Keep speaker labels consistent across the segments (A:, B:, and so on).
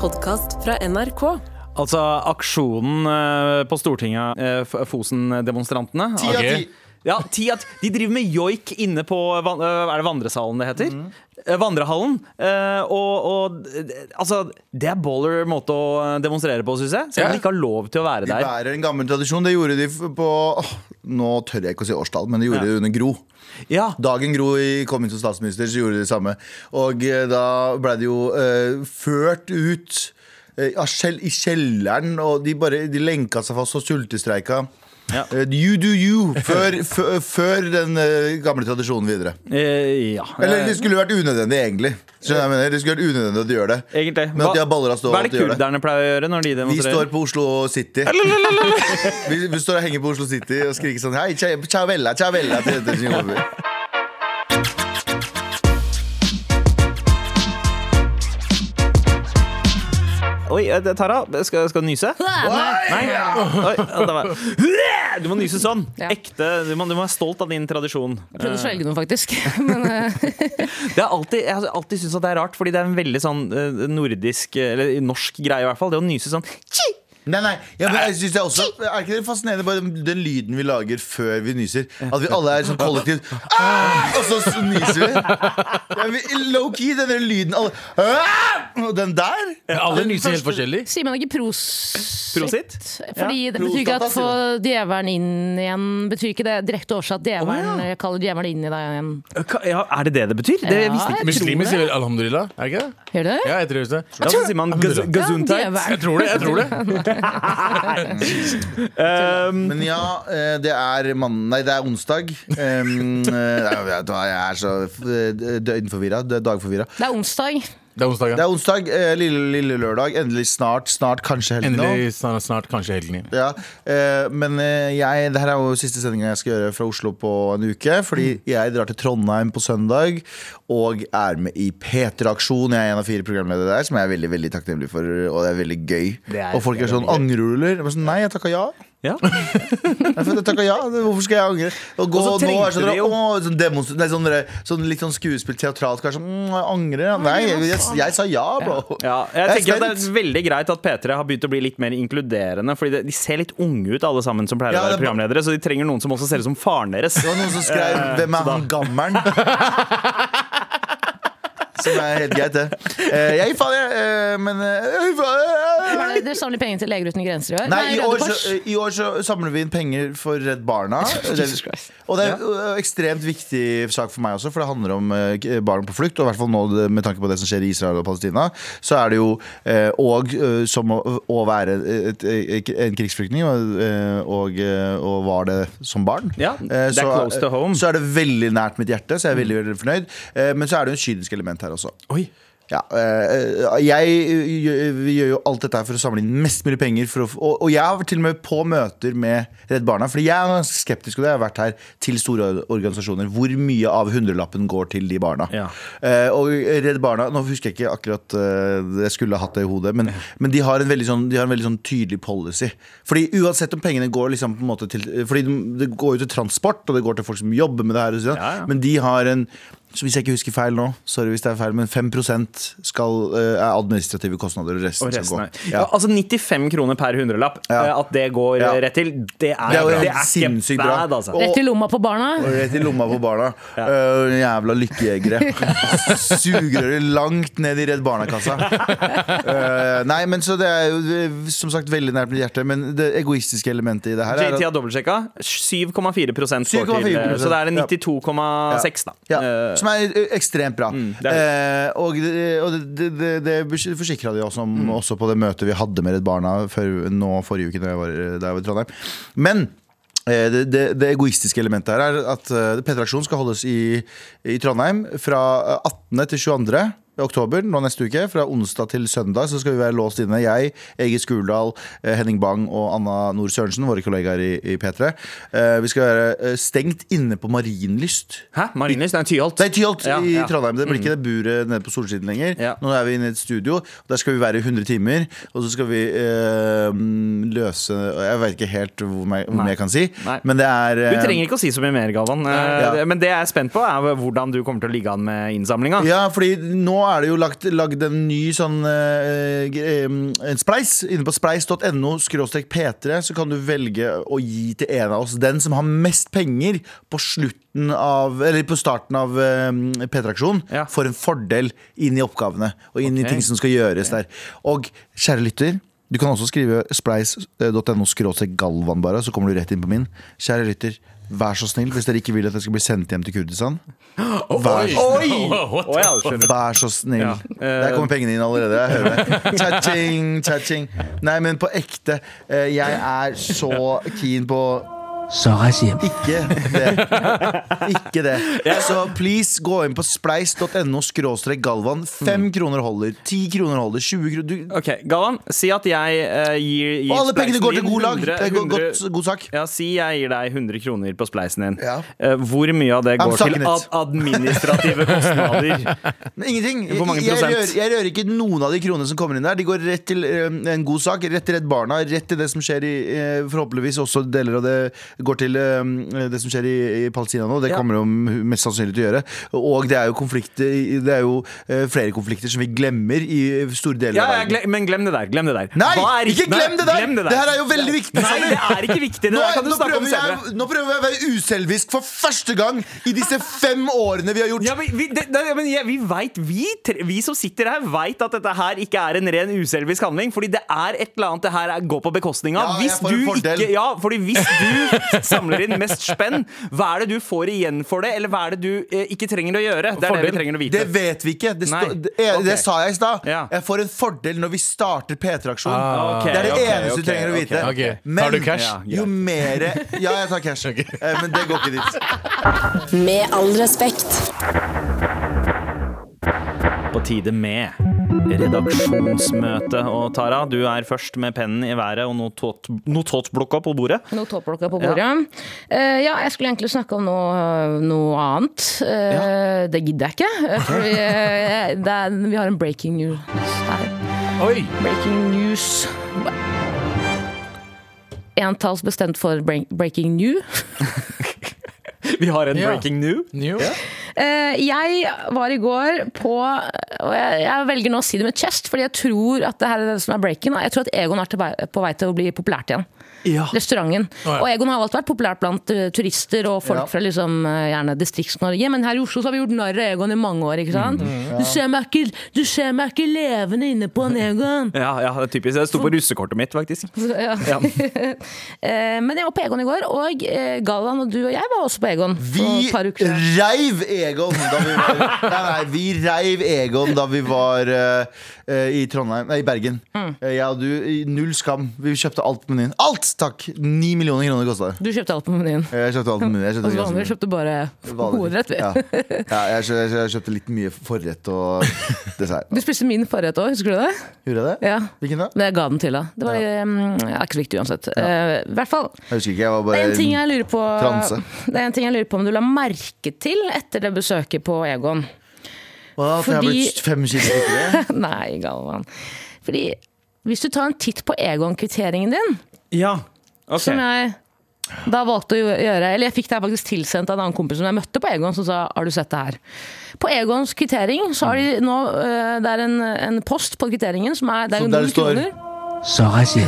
A: podkast fra NRK.
B: Altså aksjonen eh, på Stortinget, eh, F- Fosen-demonstrantene. Altså,
C: Ti av
D: Ok.
C: ti.
B: Ja, ti at De driver med joik inne på van- øh, Er det vandresalen det heter?
C: Mhm.
B: Eh, Vandrehallen. Eh, Og, og d- d- altså, det er baller måte å eh, demonstrere på, syns jeg. Selv om
D: Ja.
B: de ikke har lov til å være
C: De
B: der.
C: bærer en gammel tradisjon. Det gjorde de f- på åh, Nå tør jeg ikke å si årstall, men de gjorde det under Gro.
B: Ja,
C: Dagen Gro i- kom inn som statsminister, så gjorde de det samme. Og eh, da ble det jo eh, ført ut eh, av skjell, i kjelleren, og de, bare, de lenka seg fast og sultestreika.
B: Ja.
C: Eh, You do you! Før, før, før den eh, gamle tradisjonen videre.
B: eh, ja.
C: Eller
B: Eh,
C: det skulle vært unødvendig, egentlig. Skjønner du hva jeg mener? Det skulle vært unødvendig at de gjør det.
B: Egentlig.
C: Men
B: Hva-
C: at de har baller av stål.
B: Hva er
C: at de
B: det
C: gjør det.
B: kurderne pleier å gjøre når de
C: Vi
B: demonstrerer?
C: står på Oslo City. vi, vi står og henger på Oslo City og skriker sånn Hei, ciao ciao bella, ciao bella til jenter som jobber.
B: Oi, eh, Tara, skal, skal du nyse? Nei? Oi, ja, det var. Du må nyse sånn.
A: Ja.
B: Ekte. Du må, du må være stolt av din tradisjon.
A: Jeg prøvde å svelge noe, faktisk. Men eh,
B: Det er alltid, jeg har alltid syntes at det er rart, fordi det er en veldig sånn eh, nordisk, eh, eller norsk greie i hvert fall, det å nyse sånn «Tji!»
C: Nei, nei, ja, men jeg synes det er også Er ikke det fascinerende bare den, den lyden vi lager før vi nyser? At vi alle er sånn kollektivt «Ah!» Og så s- nyser vi. Ja, vi Low-key, den der lyden alle, «Ah!» Og den der?
D: Alle
C: Den
D: nyser helt
C: første-
D: forskjellig.
A: sier man ikke pros...
B: Prosit?
A: Fordi det betyr ikke at
C: Prostata, sier
A: få djevelen inn igjen Betyr ikke det direkte årsak at djevelen
B: Å,
A: eh, kaller djevelen inn i deg igjen.
B: Hva- Ja, er det det det betyr? Det
A: Ja,
B: visste jeg ikke.
A: jeg
D: Muslimer
A: tror
D: sier vel alhamdulillah, er det ikke det?
A: Gjør det?
D: Ja, jeg tror det.
B: Ja, så sier man gaz
A: Ja,
B: gazuntai.
D: Jeg
A: djevelen.
D: tror det. jeg tror det
B: Um,
C: Men ja, eh, det er mann... Nei, det er onsdag. Um, eh, Jeg vet hva, jeg er så eh, døgnforvirra. d- Dagforvirra.
A: Det er onsdag.
D: Det er onsdag.
C: Det
D: ja.
C: er onsdag, eh, lille, lille lørdag. Endelig snart, snart, kanskje helgen nå.
D: Endelig snart, snart kanskje helgen igjen.
C: Ja, eh, men eh, jeg, det her er jo siste sendingen jeg skal gjøre fra Oslo på en uke. Fordi
B: Mm.
C: jeg drar til Trondheim på søndag og er med i P3-aksjon. Jeg er en av fire programledere der, som jeg er veldig veldig takknemlig for. Og det er veldig gøy.
B: Det er-
C: og folk er sånn angreruller. Jeg bare sånn, Nei, jeg takka ja.
B: ja.
C: Nei, for jeg takka ja. Hvorfor skal jeg angre? Og gå,
B: Og så
C: nå er det
B: trengte
C: sånn,
B: de jo-
C: å, sånn, demonstr- nei, sånn, dere- sånn litt sånn skuespill teatralt kanskje. Mm, jeg angrer. Nei, jeg, jeg, jeg sa ja, bro.
B: Ja, jeg
C: Jeg er
B: tenker at Det
C: spent.
B: er veldig greit at P3 har begynt å bli litt mer inkluderende. Fordi det- De ser litt unge ut, alle sammen som pleier
C: Ja,
B: å være
C: det er ba-
B: programledere. Så de trenger noen som også ser ut som faren deres.
C: Det var noen som skrev 'Hvem er han gammelen?' Som er helt greit, det. Eh, jeg gir faen, jeg. eh, men eh, faen, eh.
A: Var det- Dere samler penger til Leger uten grenser i år?
C: Nei, i
A: Røde
C: år, så,
A: Kors.
C: i år så samler vi inn penger for Redd Barna.
A: Jesus Christ.
C: Og det er en ekstremt viktig sak for meg også, for det handler om eh, k- barn på flukt. Og i hvert fall nå det- med tanke på det som skjer i Israel og Palestina, så er det jo eh, og eh, som å, å være et, et, en krigsflyktning, og, eh, og, eh, og var det som barn.
B: Ja,
C: Eh,
B: det er
C: så-
B: close to home.
C: Så er det veldig nært mitt hjerte, så jeg er veldig, veldig fornøyd. Eh, Men så er det jo et kynisk element her også.
D: Oi.
C: Ja, eh, jeg gjør- vi gjør jo alt dette her for å samle inn mest mulig penger. For å, f- og, og jeg har vært til og med på møter med Redd Barna, fordi jeg er ganske skeptisk og det har jeg vært her til store organisasjoner. Hvor mye av hundrelappen går til de barna?
B: Ja.
C: Eh, og Redd Barna Nå husker jeg ikke akkurat eh, Jeg skulle hatt det i hodet, men, men de, har en veldig sånn, de har en veldig sånn tydelig policy. Fordi uansett om pengene går liksom på en måte til Fordi de- det går jo til transport, og det går til folk som jobber med det her. Og sånn,
B: Ja, ja.
C: Men de har en så Hvis jeg ikke husker feil nå, sorry hvis det er feil, men 5 skal, eh, er administrative kostnader, og resten,
B: Og resten er.
C: skal gå.
B: Ja.
C: Ja.
B: Altså 95 kroner per hundrelapp.
C: Ja.
B: eh, At det går
C: Ja.
B: eh, rett til, det er,
C: Det er jo
B: det
C: helt
B: er ikke
C: sinnssykt bra.
B: bad, altså.
C: Og-
A: Rett i lomma på barna.
C: Og Rett i lomma på barna. Øh, jævla lykkejegere. Sugerøret langt ned i Redd Barna-kassa. Øh, nei, men så det er jo eh, som sagt veldig nært mitt hjerte, men det egoistiske elementet i det her er
B: JT
C: at
B: har dobbeltsjekka. 7,4 går til. eh,
C: 7,4%,
B: Så det er en
C: ja.
B: 92,6, da.
C: ja,
B: Eh, Mm,
C: Som er eh, ekstremt bra.
B: det
C: Eh, og det, og det, det, det forsikra de oss om
B: Mm.
C: også på det møtet vi hadde med Redd Barna før, nå forrige uke da jeg var, da jeg var i Trondheim. Men eh, det, det, det egoistiske elementet her er at eh, P3-aksjonen skal holdes i, i Trondheim fra eh, 18. til 22. oktober nå neste uke. Fra onsdag til søndag så skal vi være låst inne. Jeg, Egil Skurdal, eh, Henning Bang og Anna Nord Sørensen, våre kollegaer i, i P3. Eh, Vi skal være eh, stengt inne på Marienlyst.
B: Hæ? Marienlyst? Nei, Tyholt.
C: Det er Tyholt
B: Ja,
C: i
B: ja. Mm.
C: Trondheim. Det blir ikke det buret nede på Solsiden lenger.
B: Ja.
C: Nå er vi inne i et studio. og Der skal vi være i 100 timer. Og så skal vi eh, løse Jeg vet ikke helt hvor mye hvor mye jeg kan si,
B: Nei.
C: men det er
B: Du
C: eh,
B: trenger ikke å si så mye mer, Galvan. Eh,
C: Ja.
B: det- Men det jeg er spent på, er hvordan du kommer til å ligge an med innsamlinga.
C: ja, fordi nå er det jo lagt, lagd en ny sånn eh, gre- eh, en spleis. Inne på spleis.no skråstrek p3 så kan du velge å gi til en av oss den som har mest penger på slutten av Eller på starten av eh, P3-aksjonen,
B: Ja.
C: får en fordel inn i oppgavene og
B: Ok.
C: inn i ting som skal gjøres der. Og kjære lytter, du kan også skrive spleis.no skråstrek galvan bare, så kommer du rett inn på min. Kjære lytter, vær så snill, hvis dere ikke vil at jeg skal bli sendt hjem til Kurdistan. Vær så
D: Oi! What?
B: Å, ja, skjønner.
C: Vær så snill.
B: Ja, eh.
C: Der kommer pengene inn allerede. Jeg hører det. Cha-ching, cha-ching. Nei, men på ekte. eh, Jeg er så keen på ikke det. Ikke det. Så please gå inn på spleis.no skråstrek galvan.
B: Mm.
C: Fem kroner holder, ti kroner holder, 20 kroner du,
B: Ok, Galvan, si at jeg eh, gir, gir
C: Og alle pengene
B: spleisen
C: går til
B: din
C: god lag. Det
B: 100
C: er go-
B: 100
C: godt, god sak.
B: ja, Si jeg gir deg 100 kroner på spleisen din.
C: Ja.
B: Eh, hvor mye av det
C: I'm
B: går til
C: sucking
B: ad
C: it.
B: administrative kostnader?
C: Men Ingenting. Jeg,
B: Hvor mange
C: jeg,
B: prosent?
C: rører, jeg rører ikke noen av de kronene som kommer inn der. De går rett til eh, en god sak, rett til Redd Barna, rett til det som skjer i eh, Forhåpentligvis også deler av det går til eh, det som skjer i, i Palestina nå. Det
B: Ja.
C: kommer de mest sannsynlig til å gjøre. Og det er jo konflikter i- Det er jo eh, flere konflikter som vi glemmer i store deler
B: Ja,
C: av
B: ja,
C: verden.
B: glem, men glem det der. Glem det der.
C: Nei,
B: Hva er-
C: ikke glem det der!
B: glem
C: Det her er jo veldig viktig,
B: Nei,
C: Sander.
B: det er ikke viktig. Det
C: Nå,
B: der
C: er,
B: kan du
C: nå,
B: snakke om
C: prøver
B: senere.
C: jeg, nå prøver jeg å være uselvisk for første gang i disse fem årene vi har gjort
B: Ja, men vi, det, det, men jeg- vi, vet, vi, tre- vi som sitter her, veit at dette her ikke er en ren uselvisk handling. Fordi det er et eller annet det her er- går på bekostning av.
C: Ja, jeg
B: hvis,
C: får en
B: du
C: fordel.
B: ikke, ja, fordi hvis du samler inn mest spenn, hva er det du får igjen for det? Eller hva er det du eh, ikke trenger å gjøre? Det er det
D: Fordel.
B: vi trenger å vite.
C: Det vet vi ikke. Det,
B: Nei.
C: sto, det, jeg, det
B: Ok.
C: sa jeg i stad.
B: Ja.
C: Jeg får en fordel når vi starter P3-aksjonen.
D: Ah,
B: ok,
C: det er det
B: ok,
C: eneste
B: ok,
C: du trenger å vite.
D: ok. Tar
C: Men
D: du cash?
B: Ja,
C: jo mer Ja, jeg tar cash.
D: Ok.
C: Eh, Men det går ikke dit.
E: Med all respekt.
B: på tide med redaksjonsmøte. Og Tara, du er først med pennen i været og notat, notatblokka på bordet.
A: Noe topplokka på bordet. Eh, ja, jeg skulle egentlig snakke om noe, noe annet. Eh, Det gidder jeg ikke. eh, For vi, eh, det er, vi har en breaking news her.
D: Oi!
A: Breaking news. Entalls bestemt for break- breaking new.
B: Vi har en
D: Ja.
B: breaking new.
D: New.
A: Eh, jeg var i går på Og jeg, jeg velger nå å si det med chest, fordi jeg tror at det her er det som er breaking. da. Jeg tror at Egon er tilbei- på vei til å bli populært igjen.
B: Ja.
A: Restauranten.
D: ja.
A: Og Egon har alltid vært populært blant eh, turister og folk
C: Ja.
A: fra liksom, eh, gjerne Distrikts-Norge, men her i Oslo så har vi gjort narr av Egon i mange år. ikke sant? du, ser meg ikke, du ser meg ikke levende inne på en Egon!
B: Ja, ja, det er typisk. Det sto på russekortet mitt, faktisk.
A: Ja.
B: Ja.
A: Eh, Men jeg var på Egon i går, og eh, Galvan og du og jeg var også på Egon. for et par uker
C: Vi
A: siden.
C: reiv Egon da vi var, nei, nei, vi reiv Egon da vi var eh, eh, i Trondheim Nei, i Bergen. Eh, Jeg og du, i null skam. Vi kjøpte alt på menyen. Alt, takk! Ni millioner kroner kosta det. Eh,
A: Du kjøpte alt på menyen.
C: Jeg kjøpte alt på menyen. Jeg
A: Og
C: kjøpte
A: så
C: ganske mye.
A: andre kjøpte bare
C: Vanlig.
A: hovedrett. vi.
C: Ja. ja jeg, kjø, jeg, kjø, jeg kjøpte litt mye forrett og dessert.
A: Du spiste min forrett òg, husker du det?
C: Gjorde jeg det?
A: Ja.
C: Hvilken da?
A: Det jeg ga den til deg. Det var um, er ikke så viktig uansett. Eh, I hvert fall.
C: Jeg husker ikke. Jeg var
A: Det
C: bare
A: er en ting jeg lurer på
C: transe.
A: Det er en ting jeg lurer på om du la merke til etter det besøket på Egon.
C: Hva, at jeg har
A: fordi-
C: blitt fem kilo tykkere?
A: Nei, Galvan. Fordi hvis du tar en titt på Egon-kvitteringen din,
B: Ja, ok.
A: som jeg da valgte å gjøre Eller jeg fikk det her faktisk tilsendt av en annen kompis som jeg møtte på Egon, som sa 'har du sett det her'? På Egons kvittering så har
C: Mm.
A: de nå eh, Det er en, en post på kvitteringen som er Det er
C: Som
A: jo
C: der
A: null
C: det står-
A: kroner.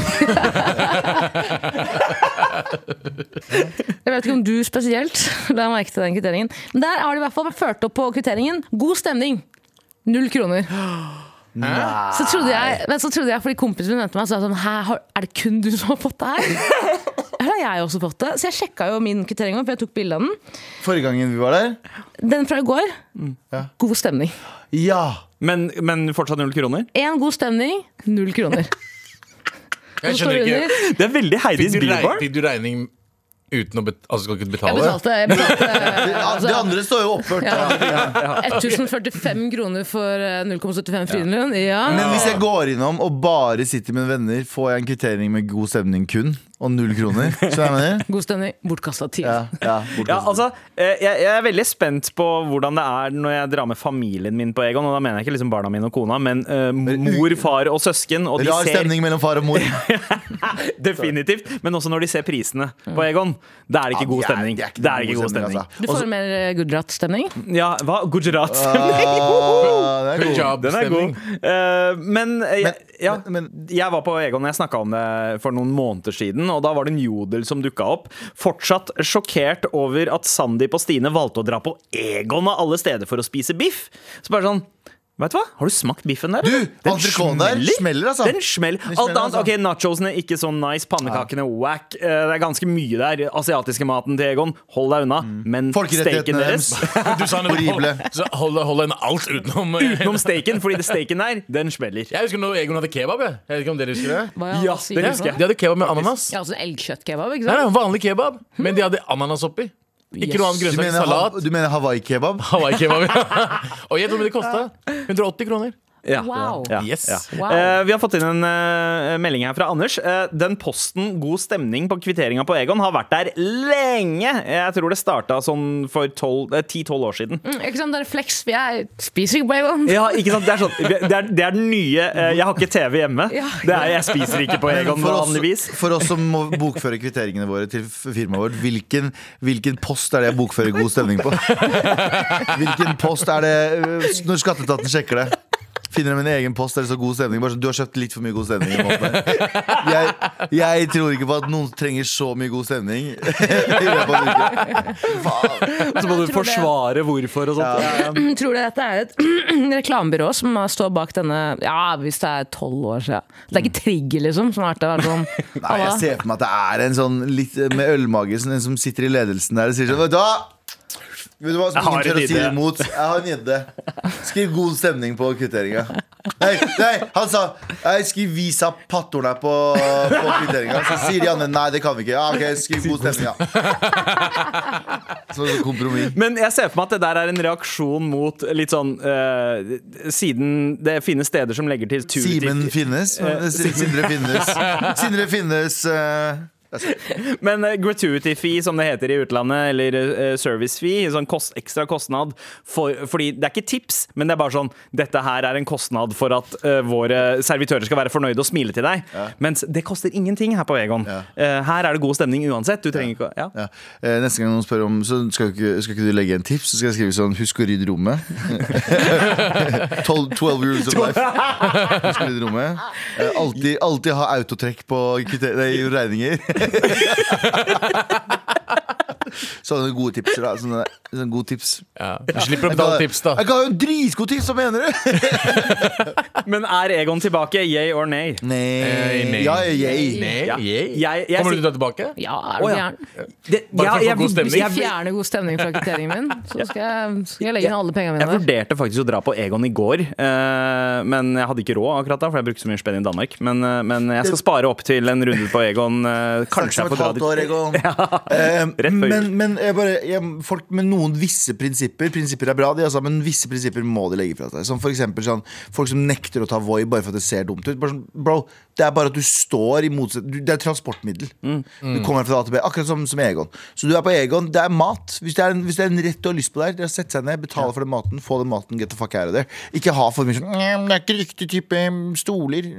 A: Jeg vet ikke om du spesielt la merke til den kvitteringen. Men der har de i hvert fall ført opp på kvitteringen. God stemning! Null kroner. Så trodde jeg, men så trodde jeg fordi kompisen min nevnte meg, så sa jeg sånn Hæ, har- er det kun du som har fått det her? Eller har jeg også fått det? Så jeg sjekka jo min kvittering òg, for jeg tok bilde av den.
C: Forrige gangen vi var der?
A: Den fra i går.
C: Mm,
A: God stemning.
C: Ja!
B: Men, men fortsatt null kroner?
A: Én god stemning, null kroner. Så
D: Jeg
A: står
D: skjønner
A: det
D: ikke.
A: under.
B: Det er veldig
D: Fikk
B: Heidis
D: du, regning,
B: Bilbar.
D: fikk du regning uten å bet altså, skal ikke
A: Jeg
D: betale?
A: betalte, jeg betalte altså,
C: Det, det andre står jo oppført.
A: ja, 1045 kroner for eh, 0,75 friminutt. Ja.
C: Men hvis jeg går innom og bare sitter med venner, får jeg en kvittering med god stemning kun? og null kroner. Så jeg mener
A: God stemning. Bortkasta tid.
C: ja, ja, bortkastet.
B: Ja, altså, eh, jeg, jeg er veldig spent på hvordan det er når jeg drar med familien min på Egon. Og da mener jeg ikke liksom barna mine og kona, men eh, mor, far og søsken. Og de
C: Rar
B: ser
C: stemning mellom far og mor. Ah,
B: definitivt, men også når de ser prisene på Egon. Da er det ikke god stemning.
C: Ja,
B: Det er ikke god stemning.
C: altså.
A: Du får mer eh, Gujarat-stemning.
B: Ja, hva? Gujarat.
C: Ah, det er god.
B: Den er
D: Punjab-stemning.
B: god. Eh, men eh, jeg,
C: Men-
B: ja,
C: men-
B: jeg var på Egon og jeg snakka om det for noen måneder siden, og da var det en jodel som dukka opp. Fortsatt sjokkert over at Sandeep og Stine valgte å dra på Egon av alle steder for å spise biff. Så bare sånn Vet du hva? Har du smakt biffen der? eller?
C: entrecôten der smeller, altså.
B: Den smeller.
C: Den
B: Alt
C: smeller,
B: annet,
C: altså.
B: ok, Nachosene ikke så nice, pannekakene whack. Eh, Det er ganske mye der. Asiatiske maten til Egon, hold deg unna. Men steiken
C: Mm. Folkerettighetene
B: deres
C: deres.
D: Du sa noe
C: Horrible.
D: Så hold, hold en alt utenom
B: Utenom steiken, fordi det steiken der, den smeller.
D: Jeg husker når Egon hadde kebab. Jeg, jeg vet ikke om dere husker det?
A: Hva
B: Ja,
A: sier
B: det
A: du?
B: husker jeg.
D: De hadde kebab med ananas.
A: Ja, altså elgkjøttkebab, ikke
D: Nei, nei,
A: sant?
D: vanlig kebab, men de hadde ananas oppi. Ikke noe annet
C: Du
D: grønnsak.
C: mener, ha-
D: Salat.
C: du mener Hawaii-kebab?
D: Hawaii-kebab. Og gjett hvor mye det kosta? 180 kroner.
B: Ja.
A: Wow.
B: Ja.
D: Yes.
B: Ja.
A: Wow.
B: Eh, vi har fått inn en eh, melding her fra Anders. Eh, den posten 'God stemning' på kvitteringa på Egon har vært der lenge. Jeg tror det starta sånn for 12 eh, 10-12 år siden.
A: Mm, Ikke sant, det er flex. for Jeg spiser ikke på Egon.
B: Ja, ikke sant? Det er, sånn, det er, det er den nye eh, 'jeg har ikke TV hjemme'.
A: Ja.
B: Det er 'jeg spiser ikke på Egon'
C: for, oss,
B: vanligvis.
C: for oss som må bokføre kvitteringene våre til f- firmaet vårt, hvilken, hvilken post er det jeg bokfører god stemning på? Hvilken post er det øh, når skatteetaten sjekker det? Finner de en egen post der det står god stemning? Bare sånn, du har kjøpt litt for mye god stemning. i måneden." Jeg, jeg tror ikke på at noen trenger så mye god stemning. i løpet av en uke. Faen.
B: Så må du
A: jeg tror det-
B: forsvare hvorfor og sånt.
A: Tror du dette er et reklamebyrå som står bak denne Ja, hvis det er tolv år siden. Det er ikke Trigger, liksom, som har vært der sånn
C: Nei, jeg ser for meg at det er en sånn litt med ølmage sånn en som sitter i ledelsen der og sier sånn Vet du hva? Vet du hva som
B: Jeg har
C: ingen
B: en
C: tør å si
B: idé.
C: imot? Jeg har en gjedde. Skriv 'god stemning' på kvitteringa. Nei, nei, han sa nei, 'skriv 'visa pattorna' på, på kvitteringa. Så sier de andre 'nei, det kan vi ikke'. Ja, ok, skriv 'god stemning', ja. Så så kompromiss.
B: Men jeg ser for meg at det der er en reaksjon mot litt sånn eh, Siden det finnes steder som legger til tur til-
C: Simen finnes.
B: Eh,
C: Sindre finnes. Sindre finnes eh,
B: Men eh, gratuity fee, som det heter i utlandet, eller eh, service fee, sånn kost, ekstra kostnad for, Fordi det er ikke tips, men det er bare sånn Dette her er en kostnad for at eh, våre servitører skal være fornøyde og smile til deg. Mens det koster ingenting her på Egon.
C: Ja.
B: Eh, her er det god stemning uansett. Du trenger ikke å ja.
C: Ja. Eh, Neste gang noen spør om Så skal ikke, skal ikke du legge en tips, så skal jeg skrive sånn Husk å rydde rommet. 12, 12 rules of life. Husk å rydde rommet. Eh, Alltid, alltid ha autotrekk på kvitter- nei, regninger. Sånne gode tipser, da. Sånne, sånne gode tips.
D: Ja. Du slipper å betale tips, da. Eh,
C: Jeg ga jo dritgode tips, hva mener du?
B: Men er Egon tilbake? Yay or nay?
D: Eh,
C: Nei.
D: nei.
C: Ja, yay.
D: Nei,
B: Ja.
D: jeg-
B: Jeg- jeg
D: Kommer
B: sier-
D: du til å ta tilbake?
A: Ja, er du
B: Å, ja.
A: gæren?
B: Det,
D: Bare for å få god
A: Hvis
D: stemning.
A: jeg
B: jeg, jeg,
A: fjerner god stemning fra kvitteringen min, så skal jeg, skal jeg legge inn alle pengene
B: Jeg
A: mine. der.
B: vurderte faktisk å dra på Egon i går, eh, men jeg hadde ikke råd akkurat da, for jeg brukte så mye spenn i Danmark. Men, eh, men jeg skal spare opp til en runde på Egon. eh, Kanskje jeg
C: Snakk
B: får
C: om et
B: dra
C: halvt år,
B: dit.
C: Egon. Eh,
B: før jul.
C: men men jeg bare, jeg, folk med noen visse prinsipper Prinsipper er bra, de, altså, men visse prinsipper må de legge fra seg. Som for eksempel sånn, folk som nekter å ta Voi bare for at det ser dumt ut. Bare sånn, bro, det er bare at du står i motsetning du- Det er transportmiddel.
B: Mm.
C: Du kommer fra A til B, akkurat som, som Egon. Så du er på Egon, det er mat. Hvis det er en, hvis det er en rett du har lyst på der, det er å sette seg ned, betale for den maten, få den maten, get the fuck out of there. Ikke ha for mye sånn «Nei, men Det er ikke riktig type mm, stoler.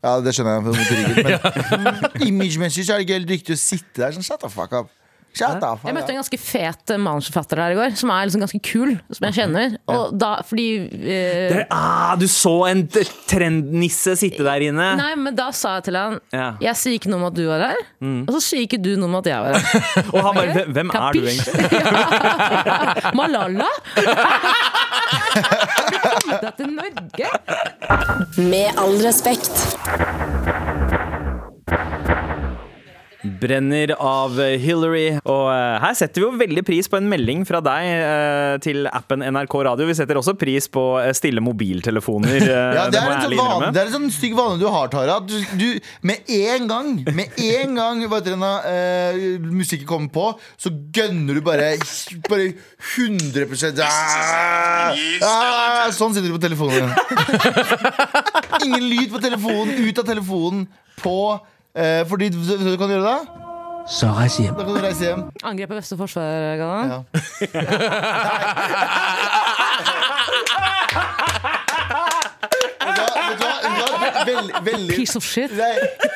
C: Ja, det skjønner jeg. for mot ryggen, Men mm, imagemessig så er det ikke helt riktig å sitte der sånn. Shut the fuck up. Shut the fuck
A: Jeg møtte
C: up.
A: en ganske fet eh, manusforfatter der i går, som er liksom ganske kul, som jeg kjenner. Og da, fordi eh,
B: Dere- Ah, du så en t- trendnisse sitte der inne!
A: Nei, men da sa jeg til han
B: Ja.
A: Jeg sier ikke noe om at du var her, og så sier ikke du noe om at jeg var her.
B: Og han bare "Hvem- Hvem er du egentlig?
A: egentlig? Malala? Flytta til Norge?
E: Med all respekt.
B: Brenner av Hillary. Og eh, her setter vi jo veldig pris på en melding fra deg eh, til appen NRK Radio. Vi setter også pris på eh, stille mobiltelefoner. eh,
C: Ja, det, er
B: må jeg
C: en sånn
B: ærlig
C: vane,
B: innrømme.
C: det er en sånn stygg vane du har, Tara. at Du, du, med en gang Med en gang hva heter det nå, eh, musikken kommer på, så gønner du bare, bare 100 ah, ah, Sånn sitter du på telefonen. Ingen lyd på telefonen, ut av telefonen, på Eh, fordi vet du hva du kan gjøre da?
F: Så reis hjem.
C: Da kan du reise hjem.
A: Angrep av beste forsvar,
C: Ja.
A: Galvan.
C: Da, vet du hva? Vet du hva? Veldig, veldig,
A: Piece of shit.
C: nei,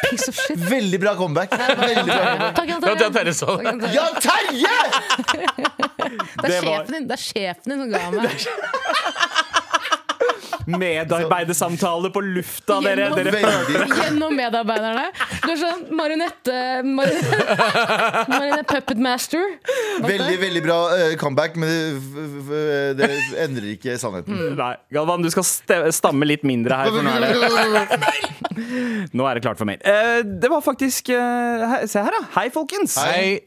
A: Piece of shit.
C: veldig bra comeback. Veldig bra comeback.
A: Takk, Jan
D: Det var Jan
A: Terje.
D: Terje som-
A: Takk, Jan Terje.
C: Jan Terje!
A: Det
B: Det
A: er
B: var-
A: sjefen din, det er sjefen din som ga meg.
B: Medarbeidersamtale på lufta, dere!
A: Gjennom-
B: dere
C: Veldig
A: Gjennom medarbeiderne. Du er sånn marionette... Marionette marionette puppet master.
C: Veldig, veldig bra eh, comeback, men det, f- f- det endrer ikke sannheten.
B: Nei, Galvan, du skal ste- stamme litt mindre her. Mm. For nå, er det, nå er det klart for mail. Eh, det var faktisk eh, he- Se her, da. Hei, folkens.
D: Hei.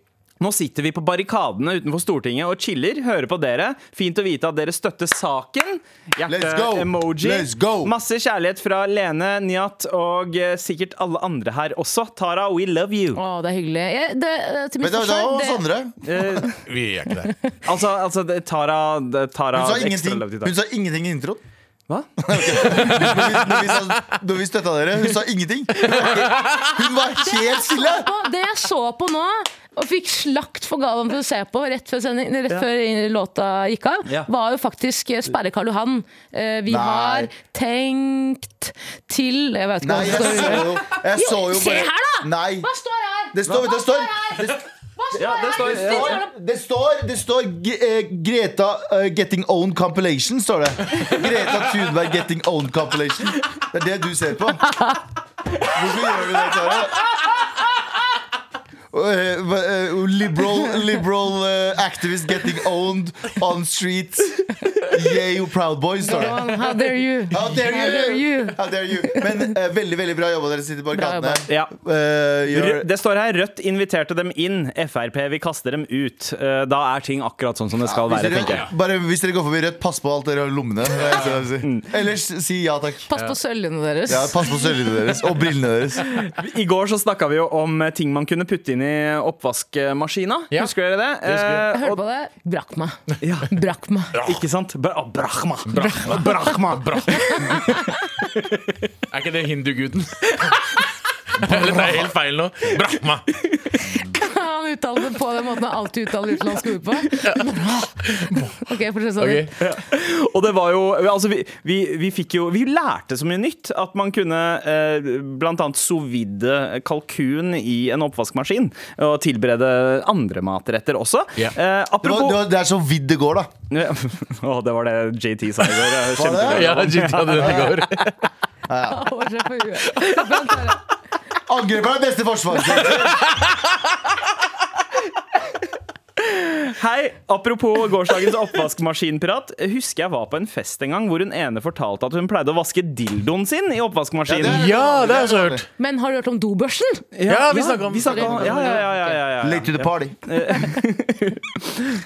B: Nå sitter vi på barrikadene utenfor Stortinget og chiller. Hører på dere. Fint å vite at dere støtter saken.
C: Let's go.
B: Hjerte-emoji.
C: Let's go.
B: Masse kjærlighet fra Lene, Niat og eh, sikkert alle andre her også. Tara, we love you.
A: Å, det er hyggelig. Jeg, det, eh, til mitt
C: Men det var
A: forsvar,
C: hos
A: det-
C: andre.
B: Eh,
D: Vi er ikke der.
B: altså, altså det- Tara, det- Tara
C: Hun sa
B: ekstra
C: ingenting,
B: love til Tara.
C: hun sa ingenting i introen.
B: Hva?
C: Når vi, når vi, sa- når vi støtta dere, hun sa ingenting. Hun var helt- Hun var helt stille!
A: på- det jeg så på nå, og fikk slakt for gaven for å se på rett før, sending, nei, rett
B: Ja.
A: før låta gikk av,
B: Ja.
A: var jo faktisk eh, Sperre Karl Johan. Eh, vi
C: Nei.
A: har tenkt til Jeg vet ikke
C: Nei, jeg
A: hva det
C: så
A: står.
C: jo, jeg så jo
A: se
C: bare
A: her da!
C: Nei.
A: Hva står her?
C: Det står, det står, det står,
A: Hva står
B: Ja, det
A: her?
B: står-
A: Det
B: ja.
A: står-
C: det står, det står G- eh, Greta eh, Getting Own Compilation, står det. Greta Thunberg Getting Own Compilation. Det er det du ser på. Hvorfor gjør du det, Tara? Eh, hva- eh, liberal liberal eh, activist getting owned on streets. Yay, you proud boys, står det.
A: Johan, How dare you?
C: How dare you!
A: How dare you?
C: How dare you? Men eh, veldig veldig bra jobba, dere sitter på
A: Bra
C: arkadene.
B: Ja.
C: Eh, gjør-
B: Rødt- Det står her Rødt inviterte dem inn, Frp vil kaste dem ut. Eh, Da er ting akkurat sånn som det skal
C: Hvis
B: være,
C: dere,
B: tenker jeg.
C: bare hvis dere går forbi Rødt, pass på alt dere har i lommene. Det er det jeg
B: Mm.
C: vil si. Ellers si ja takk.
A: Pass på søljene deres.
C: Ja, pass på sølvene deres og brillene deres.
B: I går så snakka vi jo om eh, ting man kunne putte inn i oppvaskmaskina.
D: Ja.
B: Husker dere det?
D: husker
A: Jeg
B: Eh,
A: hørte på det. Brakk meg.
B: og- ja.
A: Brakk meg.
B: Ikke sant? Bra- ah, Brahma. Brahma.
D: Er ikke det hinduguden? Eller det er helt feil nå. Brahma.
A: Han uttalte det på den måten han alltid uttaler utenlandske ord på. Ok, fortsett sånn.
D: Ok.
B: Og det var jo Altså, vi, vi, vi fikk jo Vi lærte så mye nytt. At man kunne eh, blant annet sous vide kalkun i en oppvaskmaskin. Og tilberede andre matretter også.
D: Ja.
B: Eh,
C: Det, var, det,
B: apropos
C: var, det er så vidt det går, da.
B: Å, det var det JT sa i går. Jeg
C: Var
B: kjempebra.
C: det?
D: Ja, Jimmy hadde den i går.
A: Hår seg på huet. Vent, dere.
C: Angriper er det beste forsvaret.
B: Hei, apropos gårsdagens oppvaskmaskinprat. Husker jeg var på en fest en gang hvor hun ene fortalte at hun pleide å vaske dildoen sin i oppvaskemaskinen.
D: Ja, det har jeg så hørt.
A: Men har du hørt om dobørsten?
D: Ja, vi snakket om-
B: vi snakket om ja, ja, ja, ja, ja, ja.
C: Late to the party.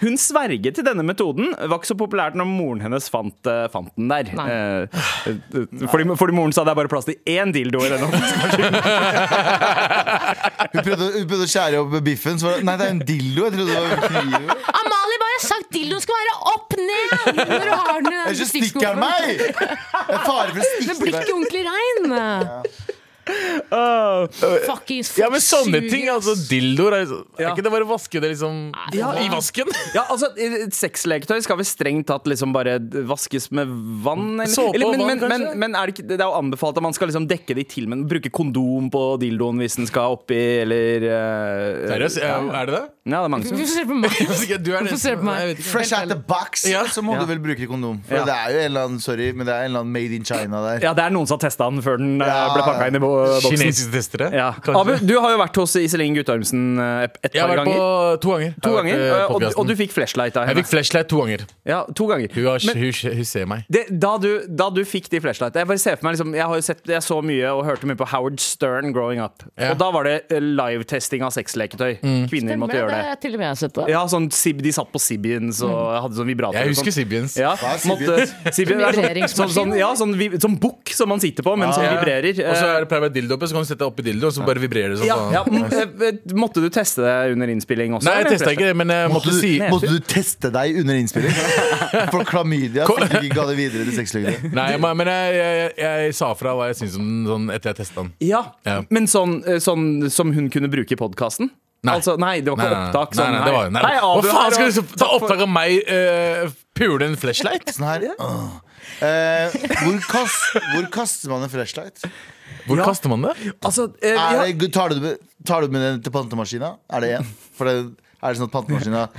B: Hun sverget til denne metoden. Var ikke så populært når moren hennes fant, eh, fant den der.
A: Nei.
B: Eh, eh, Fordi, fordi moren sa det er bare plass til én dildo i den oppvaskmaskinen.
C: Hun prøvde, hun prøvde å skjære opp biffen. Så var det, nei, det er en dildo. Jeg trodde det var kniv.
A: Amalie bare har sagt dildoen skal være opp ned! Når du har den i den
C: Ellers så stikker han
A: stikkskuffen.
C: meg! Jeg er fare for å
A: Men
C: stikke
A: blir
C: meg.
A: ikke ordentlig rein! Fuckings
D: Ah. Ja, men sånne
A: suger.
D: ting, altså dildoer er, er
B: Ja.
D: ikke det bare å vaske det liksom
B: Ja.
D: i vasken?
B: Ja, altså, et Sexleketøy skal vel strengt tatt liksom bare vaskes med vann? Eller,
D: Såpe og
B: eller, men,
D: vann,
B: men, men,
D: kanskje?
B: men er det, ikke, det er jo anbefalt at man skal liksom dekke det til, men bruke kondom på dildoen hvis den skal oppi, eller eh,
D: Seriøst,
B: Ja,
D: er- er det det?
B: ja, det er mange som
A: Hvorfor ser du på meg?
D: Jeg vet ikke, Du er
A: Hvorfor ser du på meg?
D: jeg vet ikke.
C: Fresh out the box,
D: Ja.
C: så må du vel bruke kondom. For
B: Ja.
C: det er jo en eller annen, sorry, men det er en eller annen made in China der.
B: Ja, det er noen som har testa den før den eh,
C: Ja.
B: ble pakka inn i bo- boksen.
D: Kinesiske testere?
B: Ja.
D: kanskje?
B: Abu, du har jo vært hos Iselin Guttormsen eh, et et
D: jeg har
B: par
D: vært på
B: ganger.
D: to ganger. Jeg
B: To
D: har vært,
B: ganger,
D: eh,
B: eh, og,
D: podcasten.
B: og du fikk flashlight av
D: Jeg
B: henne.
D: fikk flashlight to ganger.
B: Ja, to ganger.
D: Hun, har,
B: Men-
D: hun, hun ser meg.
B: det, da, du, da du fikk de flashlightene Jeg bare ser for meg liksom, jeg, har jo sett, jeg så mye og hørte mye på Howard Stern growing up.
D: Ja. Mm.
B: Og da var det eh, live-testing av sexleketøy. Kvinner måtte gjøre det.
A: har til og med jeg sett det.
B: Ja, sånn, Sib- de satt på Sibiens og hadde sånn vibrator.
D: Mm. Jeg
B: og sånn.
D: husker Sibiens.
B: Ja,
C: Hva er
B: måtte, Sibien, det er sånn, sånn,
A: Vibreringsmaskin,
B: sånn, ja, sånn, vi- sånn bukk som man sitter på, men som
D: Ja.
B: vibrerer.
D: Og så
B: Eh,
D: er det pleier å være dildo oppe, så kan du sette deg oppi dildo, så bare vibrerer det sånn.
B: Ja,
D: sånn.
B: ja, sånn m- eh, måtte du teste det under innspilling også?
D: Nei, jeg
B: eller?
D: testa ikke det, men jeg måtte
C: Måtte du,
D: si
C: måtte du teste deg under innspilling? For klamydia
D: Kom.
C: som ikke ga det videre til sexløgner.
D: Nei, jeg må- men jeg, jeg, jeg, jeg sa fra hva jeg syntes om den sånn etter jeg testa den.
B: Ja,
D: Ja.
B: Men sånn, eh, sånn som hun kunne bruke i podkasten?
D: Nei.
B: Altså, nei, det var
D: Nei,
B: ikke
D: nei, nei.
B: opptak? Sånn,
D: nei, nei, det var, nei,
B: Hei, Abu
D: Hva faen
B: her,
D: skal
B: og-
D: du så- ta opptak av meg eh, pule en flashlight?
C: Sånn her. åh. Eh, hvor, kast, hvor kaster man en flashlight?
D: Hvor
B: Ja.
D: kaster man det?
B: Altså, eh,
C: Er
B: ja.
C: det, tar, du med, tar du med den til pantemaskina? Er det en? For det, er det sånn at pantemaskina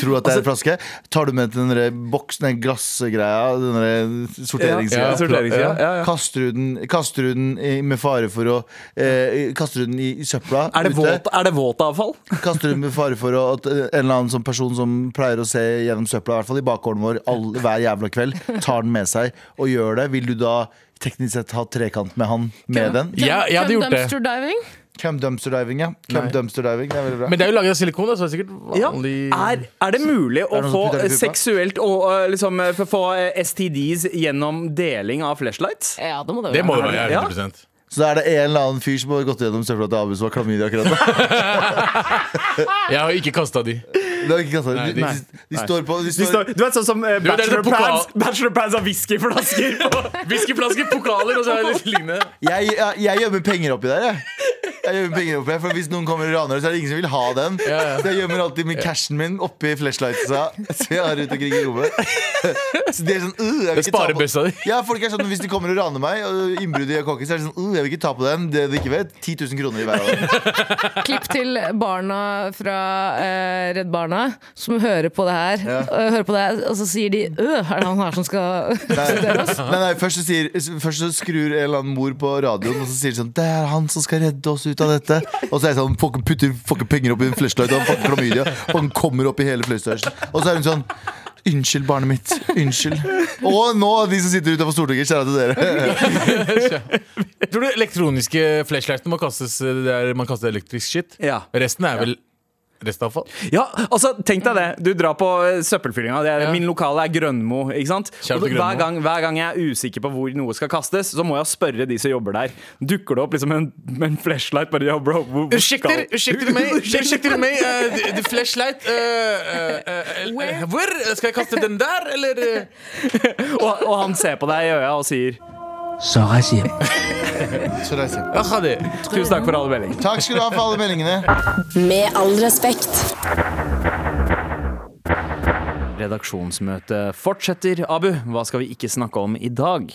C: tror at det
B: Altså-
C: er en flaske? Tar du med til den der boksen, den glassgreia, den der sorteringsgreia?
B: Ja, sorteringssida. Ja, ja.
C: Kaster du den, kaster du den i, med fare for å eh, Kaster du den i, i søpla
B: Er det,
C: ute?
B: våt, er det våt avfall?
C: Kaster du den med fare for å, at eh, en eller annen sånn person som pleier å se gjennom søpla, i hvert fall i bakgården vår, all, hver jævla kveld, tar den med seg og gjør det? Vil du da teknisk sett ha trekant med han med den?
D: Ja, jeg hadde gjort det.
A: Dumpster diving?
C: Cum dumpster diving, ja. Cum dumpster diving, det er veldig bra.
D: Men det er jo laget av silikon, da, så det er sikkert
B: Ja.
D: vanlig
B: Er, er det mulig å
C: Er det noen
B: få
C: som putter det i pipa?
B: seksuelt og eh, liksom eh, få eh, STDs gjennom deling av flashlights?
A: Ja, det må det
D: Det må jo
A: være.
D: være
B: Ja.
D: 100
C: Så da er det en eller annen fyr som har gått gjennom søpla til Abu som har klamydia akkurat nå.
D: Jeg har jo ikke kasta de.
C: Det er ikke kassa. De, de,
D: nei.
C: de, står på de
B: De
C: står,
B: står, du vet sånn som eh,
D: det er
B: bachelor,
D: det pokal-
B: pads, bachelor pads av whiskyflasker på
D: Whiskyflasker, pokaler og så er det litt lignende.
C: jeg, jeg, jeg gjemmer penger oppi der, jeg. Jeg gjemmer penger oppi der, For Hvis noen kommer og raner, så er det ingen som vil ha den.
D: Ja, ja.
C: Så jeg gjemmer alltid min cashen min oppi flashlightsa som jeg har rundt omkring i rommet. Så det er sånn, uh, jeg vil
D: Det
C: ikke ta på-
D: sparebøssa di.
C: Ja, folk er sånn, Hvis de kommer og raner meg, og innbruddet gjør kokken, så er det sånn uh, Jeg vil ikke ta på den. Det de ikke vet, 10 000 kroner i hver av dem.
A: Klipp til barna fra eh, Redd Barna som hører på det her. Og, hører på det, her, og så sier de Øh, er det han her som skal
C: Nei, nei, nei først, så sier, først så skrur en eller annen mor på radioen og så sier de sånn Det er han som skal redde oss ut av dette. Og så er jeg sånn Fuck, putter fuck, penger opp i en flashlight og han fucker klamydia. Og han kommer opp i hele flashlighten. Og så er hun sånn Unnskyld, barnet mitt. Unnskyld. Og nå, de som sitter utenfor Stortinget, kjære til dere.
D: Tror du elektroniske flashlightene må kastes der man kaster elektrisk shit?
B: Ja.
D: Resten er vel restavfall?
B: Ja, altså, tenk deg det. Du drar på eh, søppelfyllinga. Det er,
D: Ja.
B: Min lokale er Grønmo. ikke sant?
D: Kjære
B: Og
D: til Grønmo.
B: hver, gang, hver gang jeg er usikker på hvor noe skal kastes, så må jeg spørre de som jobber der. Dukker det opp liksom en, med en flashlight? bare, ja, bro, hvor, hvor
D: Ursäkter,
B: skal-
D: ursäkter meg, ursäkter meg, eh, the- the flashlight eh, eh, eh,
A: Where?
D: Hvor? Skal jeg kaste den der, eller? eh?
B: Og, og han ser på deg i øya og sier
C: Så reiser jeg.
D: Jaha, det.
B: tusen takk for alle melding.
C: Takk skal du ha for alle meldingene.
E: Med all respekt.
B: Redaksjonsmøtet fortsetter. Abu, hva skal vi ikke snakke om i dag?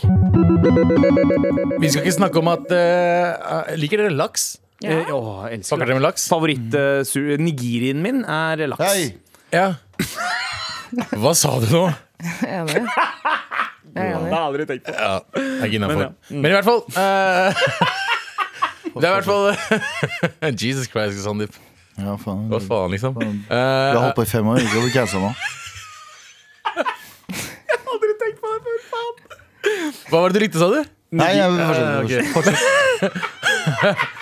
D: Vi skal ikke snakke om at eh, eh, Liker dere laks?
A: Ja.
B: Eh, å, jeg elsker
D: Snakker
B: laks.
D: dere med laks?
B: Favoritt-nigirien min er laks.
C: Hei.
D: Ja. Hva sa du nå?
A: Enig. Jeg er
B: Det
A: enig.
B: har jeg aldri tenkt på.
D: Ja, mm. jeg er ikke innafor.
B: Men ja.
D: Men, i hvert fall eh, Det er i hvert fall Jesus Christ, Sandeep.
C: Ja, faen.
D: Hva faen, liksom?
C: Vi har
D: Eh,
C: holdt på i fem år. Ikke at du cancer nå.
B: Aldri tenkt på det før, faen.
D: hva var det du likte, sa du?
C: Nei, jeg vil fortsette.
D: ok.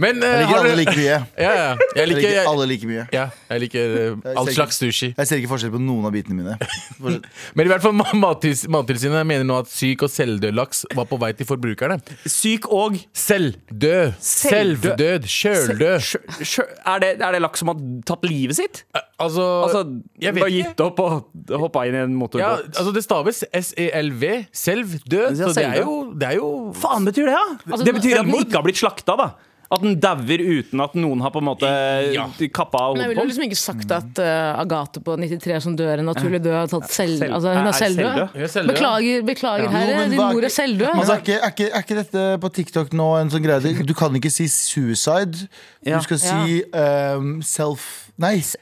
D: Men eh,
C: Jeg liker
D: har
C: alle
D: dere-
C: like mye.
D: ja, ja. Jeg
C: Jeg
D: liker,
C: liker
D: jeg,
C: alle like mye.
D: ja, jeg liker eh, all
C: Jeg ser ikke-
D: slags sushi.
C: Jeg ser ikke forskjell på noen av bitene mine. Fortsett.
D: Men i hvert fall Ma- Mattils- Mattilsynet mener nå at syk og selvdød laks var på vei til forbrukerne.
B: Syk og
D: Selvdød,
B: Selvdød.
D: selvdød, kjøldød.
B: Sjø- sjø- er, det, er det laks som har tatt livet sitt?
D: Altså,
B: Altså,
D: jeg vet
B: bare
D: ikke.
B: gitt opp og hoppa inn i en motorbåt?
D: Ja, altså det staves S-E-L-V, selvdød.
B: Ja,
D: Så det er
B: selvdød.
D: jo, det er jo
B: faen betyr det, da?
A: Altså,
B: det betyr at den
D: selvmord.
B: ikke har blitt slakta, da. At den dauer uten at noen har på en måte
D: Ja.
B: kappa av
A: Men
B: hodet
A: jeg
B: på
A: ville jo
B: den.
A: liksom ikke sagt at eh, Agathe på 93 som dør en naturlig død, har tatt selv,
B: Selv-
A: altså, hun
B: er
A: er selvdød.
B: selvdød.
D: Hun er selvdød.
A: Beklager, beklager
C: Jo,
A: herre,
C: men
A: din
C: hva-
A: mor er selvdød.
C: Men altså, er, ikke, er, ikke, er ikke dette på TikTok nå en sånn greie? Du kan ikke si suicide.
B: Ja.
C: Du skal si ehm, self nei.
A: S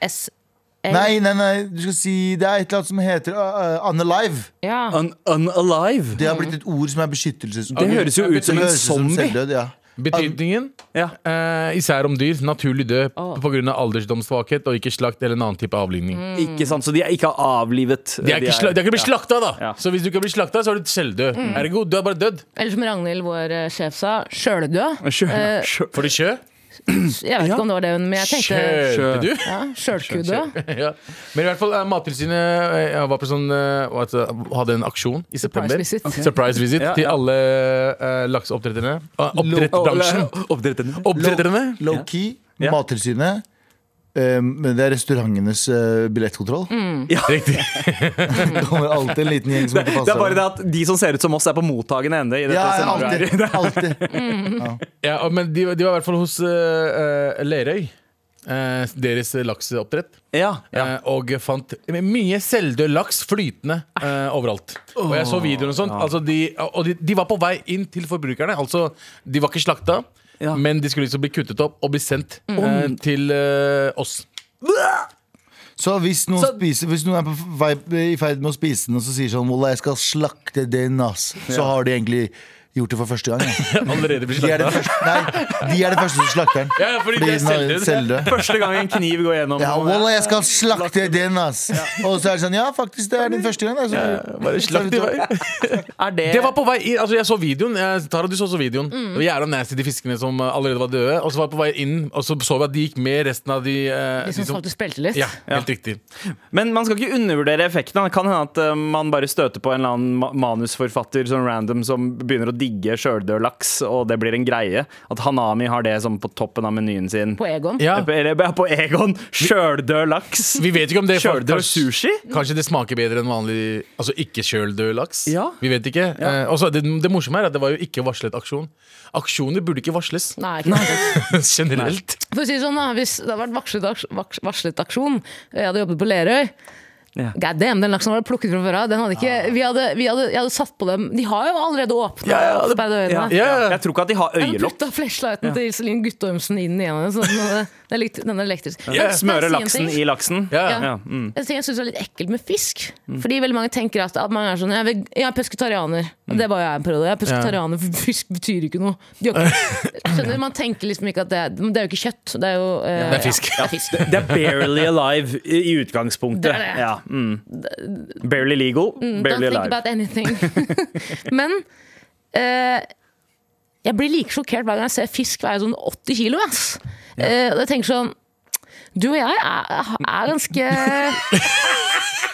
A: eh.
C: nei, nei, nei. Du skal si Det er et eller annet som heter uh, uh, unalive.
A: ja.
B: Un unalive?
C: Det har blitt et ord som er beskyttelsesord.
B: Det høres jo ut som
C: Det
B: en
C: høres ut som
B: zombie.
C: selvdød, ja.
D: Betydningen,
B: Ja.
D: eh, især om dyr, naturlig død
A: Åh.
D: på grunn av alderdomssvakhet og ikke slakt eller en annen type avlivning.
B: Mm. Ikke sant, Så de er ikke avlivet?
D: De er ikke, sla de er ikke blitt slakta, da!
B: Ja.
D: Så hvis du ikke har blitt slakta, så er du selvdød. Ergo, du er bare dødd.
A: Eller som Ragnhild, vår eh, sjef, sa, sjøldød.
B: Sjø- sjø-
D: Får du kjø?
A: Jeg vet ikke om det var det hun Men jeg tenkte
D: Skjønte du?
A: ja, Sjølkude.
D: ja. Men i hvert fall eh, Mattilsynet eh, var på sånn, eh, hva heter det, hadde en aksjon i september.
A: visit. Ok.
D: Surprise visit
B: Ja, Ah,
D: til
B: ja.
D: alle uh, lakseoppdretterne. Uh, oppdrettbransjen.
B: Oppdretterne.
D: Oppdretterne!
C: Low-key,
B: Ja.
C: Mattilsynet. eh, men det er restaurantenes eh, billettkontroll.
A: Mm.
D: Riktig.
C: Det kommer alltid en liten gjeng som ikke
B: Det er
C: passer.
B: bare det at de som ser ut som oss, er sånn på mottagende ende. I dette
C: ja,
B: scenarioet.
C: alltid, alltid.
D: Ja, og- men de, de var i hvert fall hos eh, eh, Lerøy. eh, deres lakseoppdrett.
B: ja, ja.
D: eh, og fant mye selvdød laks flytende eh, overalt. Og jeg så videoer og sånt. Altså de, og de, de var på vei inn til forbrukerne. Altså, de var ikke slakta,
B: Ja.
D: men de skulle liksom bli kuttet opp og bli sendt eh, til eh, oss.
C: Så hvis noen, spiser, hvis noen er på vei, i ferd med å spise den og så sier sånn Wallah, jeg skal slakte den, ass. Så har de egentlig gjort det for første gang. Ja.
D: Allerede blir
C: De er det
D: slakta.
C: første, nei, de er det første som slakter den.
D: Ja, fordi de er
C: den har-
D: selvdød.
C: selvdød.
B: Første gang en kniv går gjennom.
C: Ja, Wallah, jeg skal slakte den, ass. Og så er det sånn Ja, faktisk, det er din første gang. Altså.
D: Bare slakt i
C: sånn,
D: vei.
B: Er
A: Eh.
B: det,
D: Det var på vei inn, altså Jeg så videoen. Jeg, Tara, du så også videoen. Det var jævla nasty, de fiskene som eh, allerede var døde. Og så var jeg på vei inn, og så så vi at de gikk med resten av de, eh,
A: De som faktisk spilte litt.
D: Ja, helt riktig.
B: Men man skal ikke undervurdere effekten. Det kan hende at eh, man bare støter på en eller annen ma- manusforfatter sånn random som begynner å digge sjøldød laks, og det blir en greie. At Hanami har det som på toppen av menyen sin.
A: På Egon.
D: Ja.
B: På- Eller ja, på Egon. Sjøldød laks.
D: Vi vet ikke om det
B: Sjøldød
D: faktisk-
B: sushi.
D: Kanskje det smaker bedre enn vanlig Altså ikke kjøldød laks?
B: Ja.
D: Vi vet ikke. Eh, og så det, det morsomme er at det var jo ikke varslet aksjon. Aksjoner burde ikke varsles
A: Nei, ikke sant.
D: generelt.
A: For å si det sånn, da, hvis det hadde vært varslet, aks- vaks- varslet aksjon, og jeg hadde jobbet på Lerøy
B: Ja.
A: God damn, den laksen var plukket fra før av. Den hadde ikke, vi hadde, vi hadde, jeg hadde satt på dem De har jo allerede åpna ja,
D: ja, det-
A: øynene.
B: Ja.
D: Ja, ja.
B: Jeg tror ikke at de har
A: Jeg hadde
B: øyelopp.
A: putta flashlighten til Iselin Guttormsen inn igjen. Så den, hadde- den, er likt- den er elektrisk. Men
B: Smøre
A: jeg sier en
B: laksen
A: ting.
B: i laksen.
D: Ja, ja.
B: Ja, mm.
A: En ting jeg syns er litt ekkelt med fisk. Fordi veldig mange tenker at, at man er sånn Jeg er, veg- jeg er pesketarianer. Og det var jeg en periode. Jeg er pesketarianer, for fisk betyr ikke noe. De har ikke, skjønner, man tenker liksom ikke at det, er- men det er jo ikke kjøtt. Det er jo eh,
D: Det er fisk.
A: Ja, det er fisk.
B: Det er barely alive i i utgangspunktet.
A: Det er det. Mm,
B: Ja, mm. Barely legal,
A: Don't
B: barely
A: think
B: alive.
A: about anything. men eh, jeg blir like sjokkert hver gang jeg ser fisk veie sånn 80 kilo. Ass. Eh, og jeg tenker sånn Du og jeg er, er ganske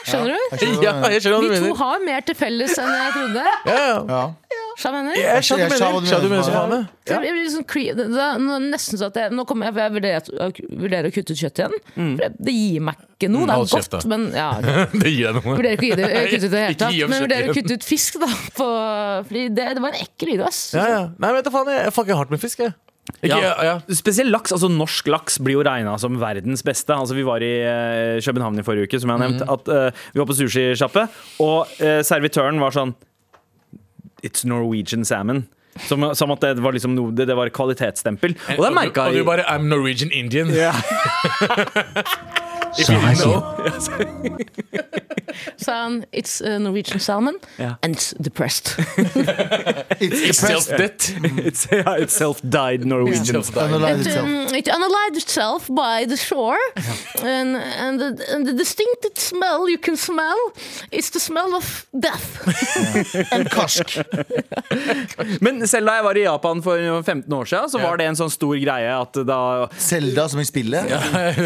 A: Skjønner du?
D: Ja, jeg skjønner hva du
A: Vi to
D: mener.
A: har mer til felles enn jeg trodde.
D: Ja, ja.
C: Ja.
A: Skjønner du hva jeg mener?
D: Jeg skjønner hva du
C: Jeg
D: mener. Skjønner hva du mener. som faen, jeg.
A: Så jeg blir litt sånn cre- det- det er nå nesten så at jeg, Nå kommer jeg, for jeg vurderer, at- jeg vurderer å kutte ut kjøtt igjen. For det- det gir meg ikke noe. Det
D: Mm. Hold
A: er
D: kjeft,
A: godt,
D: da.
A: men ja,
D: Det gir deg noe.
A: vurderer ikke å gi det, eh, kutte ut det i det
D: Ikke
A: hele
D: gi
A: tatt.
D: opp
A: Men
D: kjøtt
A: vurderer å
D: igjen.
A: kutte ut fisk, da. På, fordi det, det var en ekkel video, ass.
D: Ja, ja. Nei, men vet du faen, jeg, jeg fucker hardt med fisk, jeg. Ikke, ja. Ja,
B: Spesielt laks, altså Norsk laks blir jo regna som verdens beste. Altså Vi var i eh, København i forrige uke, som jeg har nevnt.
D: Mhm.
B: At, eh, vi var på sushisjappe, og eh, servitøren var sånn It's Norwegian salmon. Som, som at det var liksom noe, det, det var kvalitetsstempel. Og det
D: du,
B: merka
D: Eh, og du
B: jeg.
D: bare I'm Norwegian Indian.
B: Ja.
D: If you didn't know.
A: Sa han It's uh, Norwegian salmon
B: Ja.
A: and it's depressed.
C: It's depressed.
D: Self-debt.
B: It's, ja, it's self-died Norwegian.
C: Analyze
A: It,
C: itself.
A: um, it analyzed itself by the shore, and, and, the, and the distinctive smell you can smell is the smell of death.
C: En karsk.
B: Men selv da jeg var i Japan for 15 år siden, så var det en sånn stor greie at da
C: Selda som i spillet.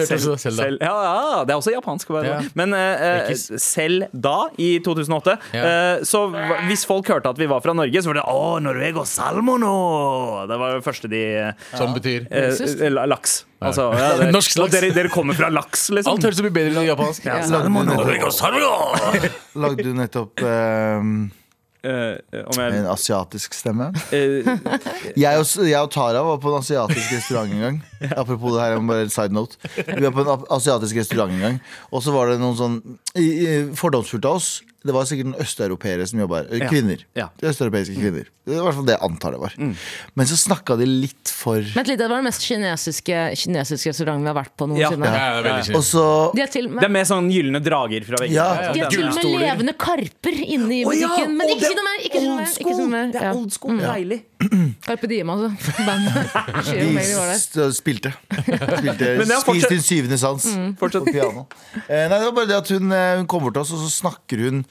D: Selv,
B: Selv, ja, ja, det er også japansk. bare.
D: Ja.
B: Men eh, eh,
D: Rikkis.
B: selv da, i 2008,
D: Ja.
B: eh, så hva- hvis folk hørte at vi var fra Norge, så var det 'Å, Norvego salmono'! Det var det første de
D: Som betyr
B: eh, eh, la- Laks. Altså, ja, det,
D: Norsk
B: og
D: laks.
B: dere, dere kommer fra laks, liksom.
D: Alt høres ut bedre enn japansk.
B: ja,
C: Lagde du
B: salmono.
C: nettopp,
D: Norge, Sverige!
C: lagde du nettopp ehm,
B: Eh, om jeg,
C: en asiatisk stemme?
B: eh,
C: Jeg og, jeg og Tara var på en asiatisk restaurant en gang. Apropos det her, jeg må bare en side note. Vi var på en ap- asiatisk restaurant en gang, og så var det noen sånn i, i, Fordomsfullt av oss. Det var sikkert noen østeuropeere som jobba her. eh, Kvinner.
B: Ja. Mm.
C: Østeuropeiske kvinner. Det var i hvert fall det jeg antar det var. Men så snakka de litt for
A: Vent litt, Det var den mest kinesiske, kinesiske restauranten vi har vært på
B: Ja.
A: noensinne.
D: Ja, det er veldig
C: Og
D: kjipt.
C: så
A: De har til og
B: det
A: med
B: er mer sånn gylne drager fra veggene.
C: Ja.
A: de har til og med
D: Gullstoler.
A: levende karper inne i
B: Å ja,
A: butikken. Men
B: å,
A: ikke
B: det
A: si noe mer! Ikke si noe mer, ikke si noe mer. Ja. Mm.
B: school, deilig.
A: Carpe Diem, altså. Bandet. Sier jo
C: de
A: mer vi var der.
C: st- spilte. spilte
B: Men det er fortsatt- Mm.
C: Spiste din syvende sans.
B: Fortsett.
C: på piano. Eh, nei, det var bare det at hun, eh, hun kommer til oss, og så snakker hun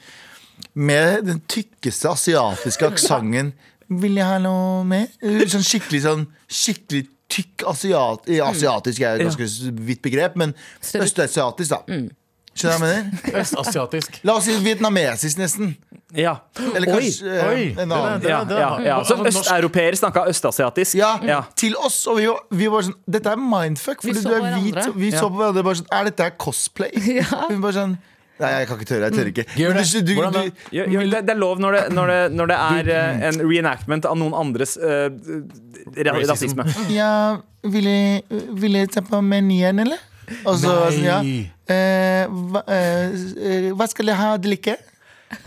C: med den tykkeste asiatiske aksenten. Vil jeg ha noe mer? Eh, Sånn skikkelig sånn skikkelig tykk asiat, eh,
D: Mm.
C: asiatisk er et ganske vidt begrep, men
A: Større-
C: østasiatisk, da.
D: Mm.
C: Skjønner du hva jeg mener?
D: Østasiatisk.
C: La oss si vietnamesisk, nesten.
B: Ja.
C: Eller kanskje eh,
D: oi,
C: en annen.
D: er-
B: Ja,
D: det er-
B: ja, ja. Som
D: altså, norsk-
B: østeuropeer snakka østasiatisk.
C: Ja,
B: Ja.
C: til oss. Og vi var, vi var sånn Dette er mindfuck,
A: Vi
C: fordi
A: så
C: du er
A: på
C: hvit.
A: hverandre.
C: og Vi
B: Ja.
C: så på hverandre bare sånn Er dette her cosplay?
A: Ja.
C: Hun bare sånn Nei, jeg kan ikke tørre. Jeg tør ikke.
D: Gjør
C: Men
D: det.
C: Du,
D: Hvordan
C: du,
D: da?
C: du,
B: Jo, jo, det, det er lov når det, når det, når det er eh, en reenactment av noen andres eh, ra-
D: Racism.
B: rasisme.
C: Ja, ville, ville se på menyen, eller? Og så var jeg sånn, ja.
D: Nei.
C: Eh, hva, eh, eh, hva skal jeg ha å drikke?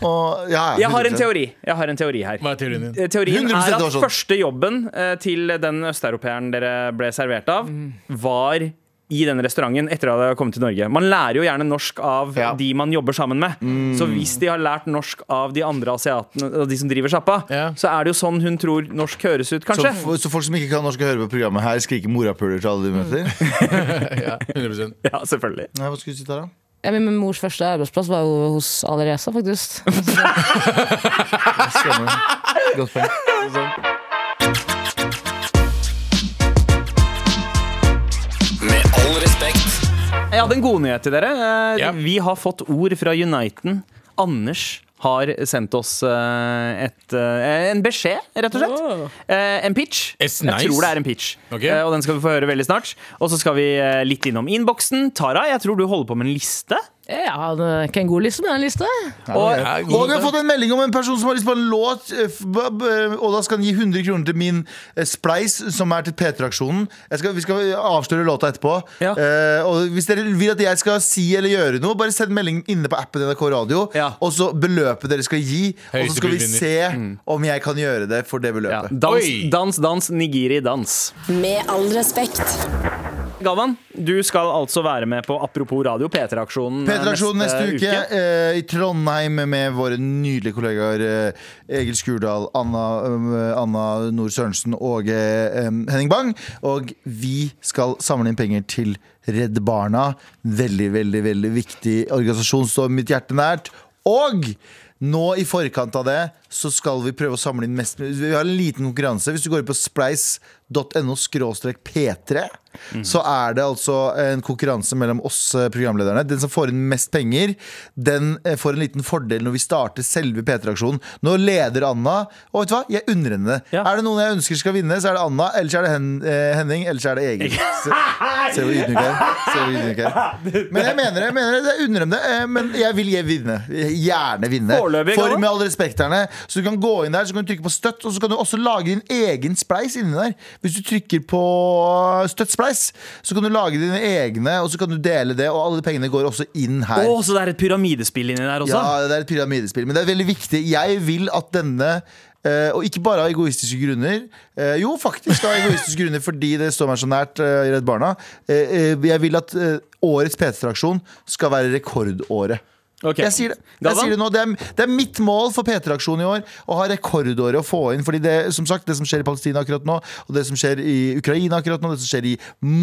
C: Og, ja, ja,
B: Jeg har en
C: 100%.
B: teori, jeg har en teori her.
D: Hva er teorien din?
B: Eh, Teorien
C: 100%
B: er
C: det var
B: at
C: sånn.
B: første jobben eh, til den østeuropeeren dere ble servert av, var i denne restauranten etter at de har kommet til Norge. Man lærer jo gjerne norsk av
C: Ja.
B: de man jobber sammen med. Så hvis de har lært norsk av de andre asiatene og de som driver sjappa,
D: Ja.
B: så er det jo sånn hun tror norsk høres ut,
C: Så,
B: kanskje.
C: f- så folk som ikke kan norsk og hører på programmet her, skriker morapuler til alle de
B: Mm.
C: møter?
D: Ja, 100
B: Ja, selvfølgelig.
C: Nei, hva skulle du si, Tara?
A: Ja, men min mors første arbeidsplass var jo hos Alireza, faktisk.
C: Godt poeng.
F: Med all respekt.
B: Jeg hadde en god nyhet til dere. Eh,
D: Ja.
B: Vi har fått ord fra Uniten. Anders har sendt oss eh, et, eh, en beskjed, rett og slett. Eh, En pitch.
D: It's nice.
B: Jeg tror det er en pitch.
D: Ok.
B: Eh, Og den skal vi få høre veldig snart. Og så skal vi eh, litt innom innboksen. Tara, jeg tror du holder på med en liste.
A: Ja, det er ikke en god liste, men det er en liste.
B: Og
D: Ja,
C: Og vi har
D: god-
C: fått en melding om en person som har lyst på en låt, eh, f- b- b- og da skal han gi 100 kroner til min eh, Spleis, som er til P3-aksjonen. Jeg skal- Vi skal avsløre låta etterpå.
B: Ja.
C: Eh, og hvis dere vil at jeg skal si eller gjøre noe, bare send meldingen inne på appen NRK Radio,
B: Ja.
C: og så beløpet dere skal gi, og så
D: Høyeste Mm.
C: skal vi
D: bud vinner.
C: se om jeg kan gjøre det for det
B: ja,
C: beløpet.
B: dans,
D: Oi.
B: dans, dans, nigiri, dans.
E: Med all respekt.
B: Galvan, du skal altså være med på Apropos radio, P3-aksjonen eh,
C: P3-aksjonen neste uke, eh, i Trondheim med våre nydelige kollegaer eh, Egil Skurdal, Anna, eh, Anna Nord Sørensen og eh, em, Henning Bang. Og vi skal samle inn penger til Redd Barna. Veldig, veldig veldig viktig organisasjon, står mitt hjerte nært. Og nå i forkant av det så skal vi prøve å samle inn mest Vi har en liten konkurranse. Hvis du går inn på spleis.no p3, så er det altså en konkurranse mellom oss eh, programlederne. Den som får inn mest penger, den eh, får en liten fordel når vi starter selve P3-aksjonen. Nå leder Anna, og vet du hva? Jeg unner henne det.
B: Ja.
C: Er det noen jeg ønsker skal vinne, så er det Anna, ellers er det Hen eh, Henning, ellers er det Egil. Se- Se hvor ydmyk jeg er. Se hvor ydmyk jeg er. Men jeg mener det. Jeg mener det. Jeg unner dem det. eh, Men jeg vil jeg vinne. Gjerne vinne.
B: Foreløpig,
C: For
B: Galvan.
C: med all respekt Erne, Så du kan gå inn der, så kan du trykke på støtt, og så kan du også lage din egen spleis inni der. Hvis du trykker på støtt spleis, så kan du lage dine egne, og så kan du dele det, og alle pengene går også inn her.
B: Å, så det er et pyramidespill inni der også?
C: Ja, det er et pyramidespill, men det er veldig viktig. Jeg vil at denne eh, og ikke bare av egoistiske grunner. eh, jo, faktisk av egoistiske grunner, fordi det står meg så nært eh, i Redd Barna. Eh, eh, jeg vil at eh, årets P3-aksjon skal være rekordåret.
B: Ok.
C: Jeg sier det. Jeg
B: Galvan?
C: sier det, nå. det, er, det er mitt mål for P3-aksjonen i år å ha rekordåret å få inn. Fordi det som sagt, det som skjer i Palestina akkurat nå, og det som skjer i Ukraina akkurat nå, det som skjer i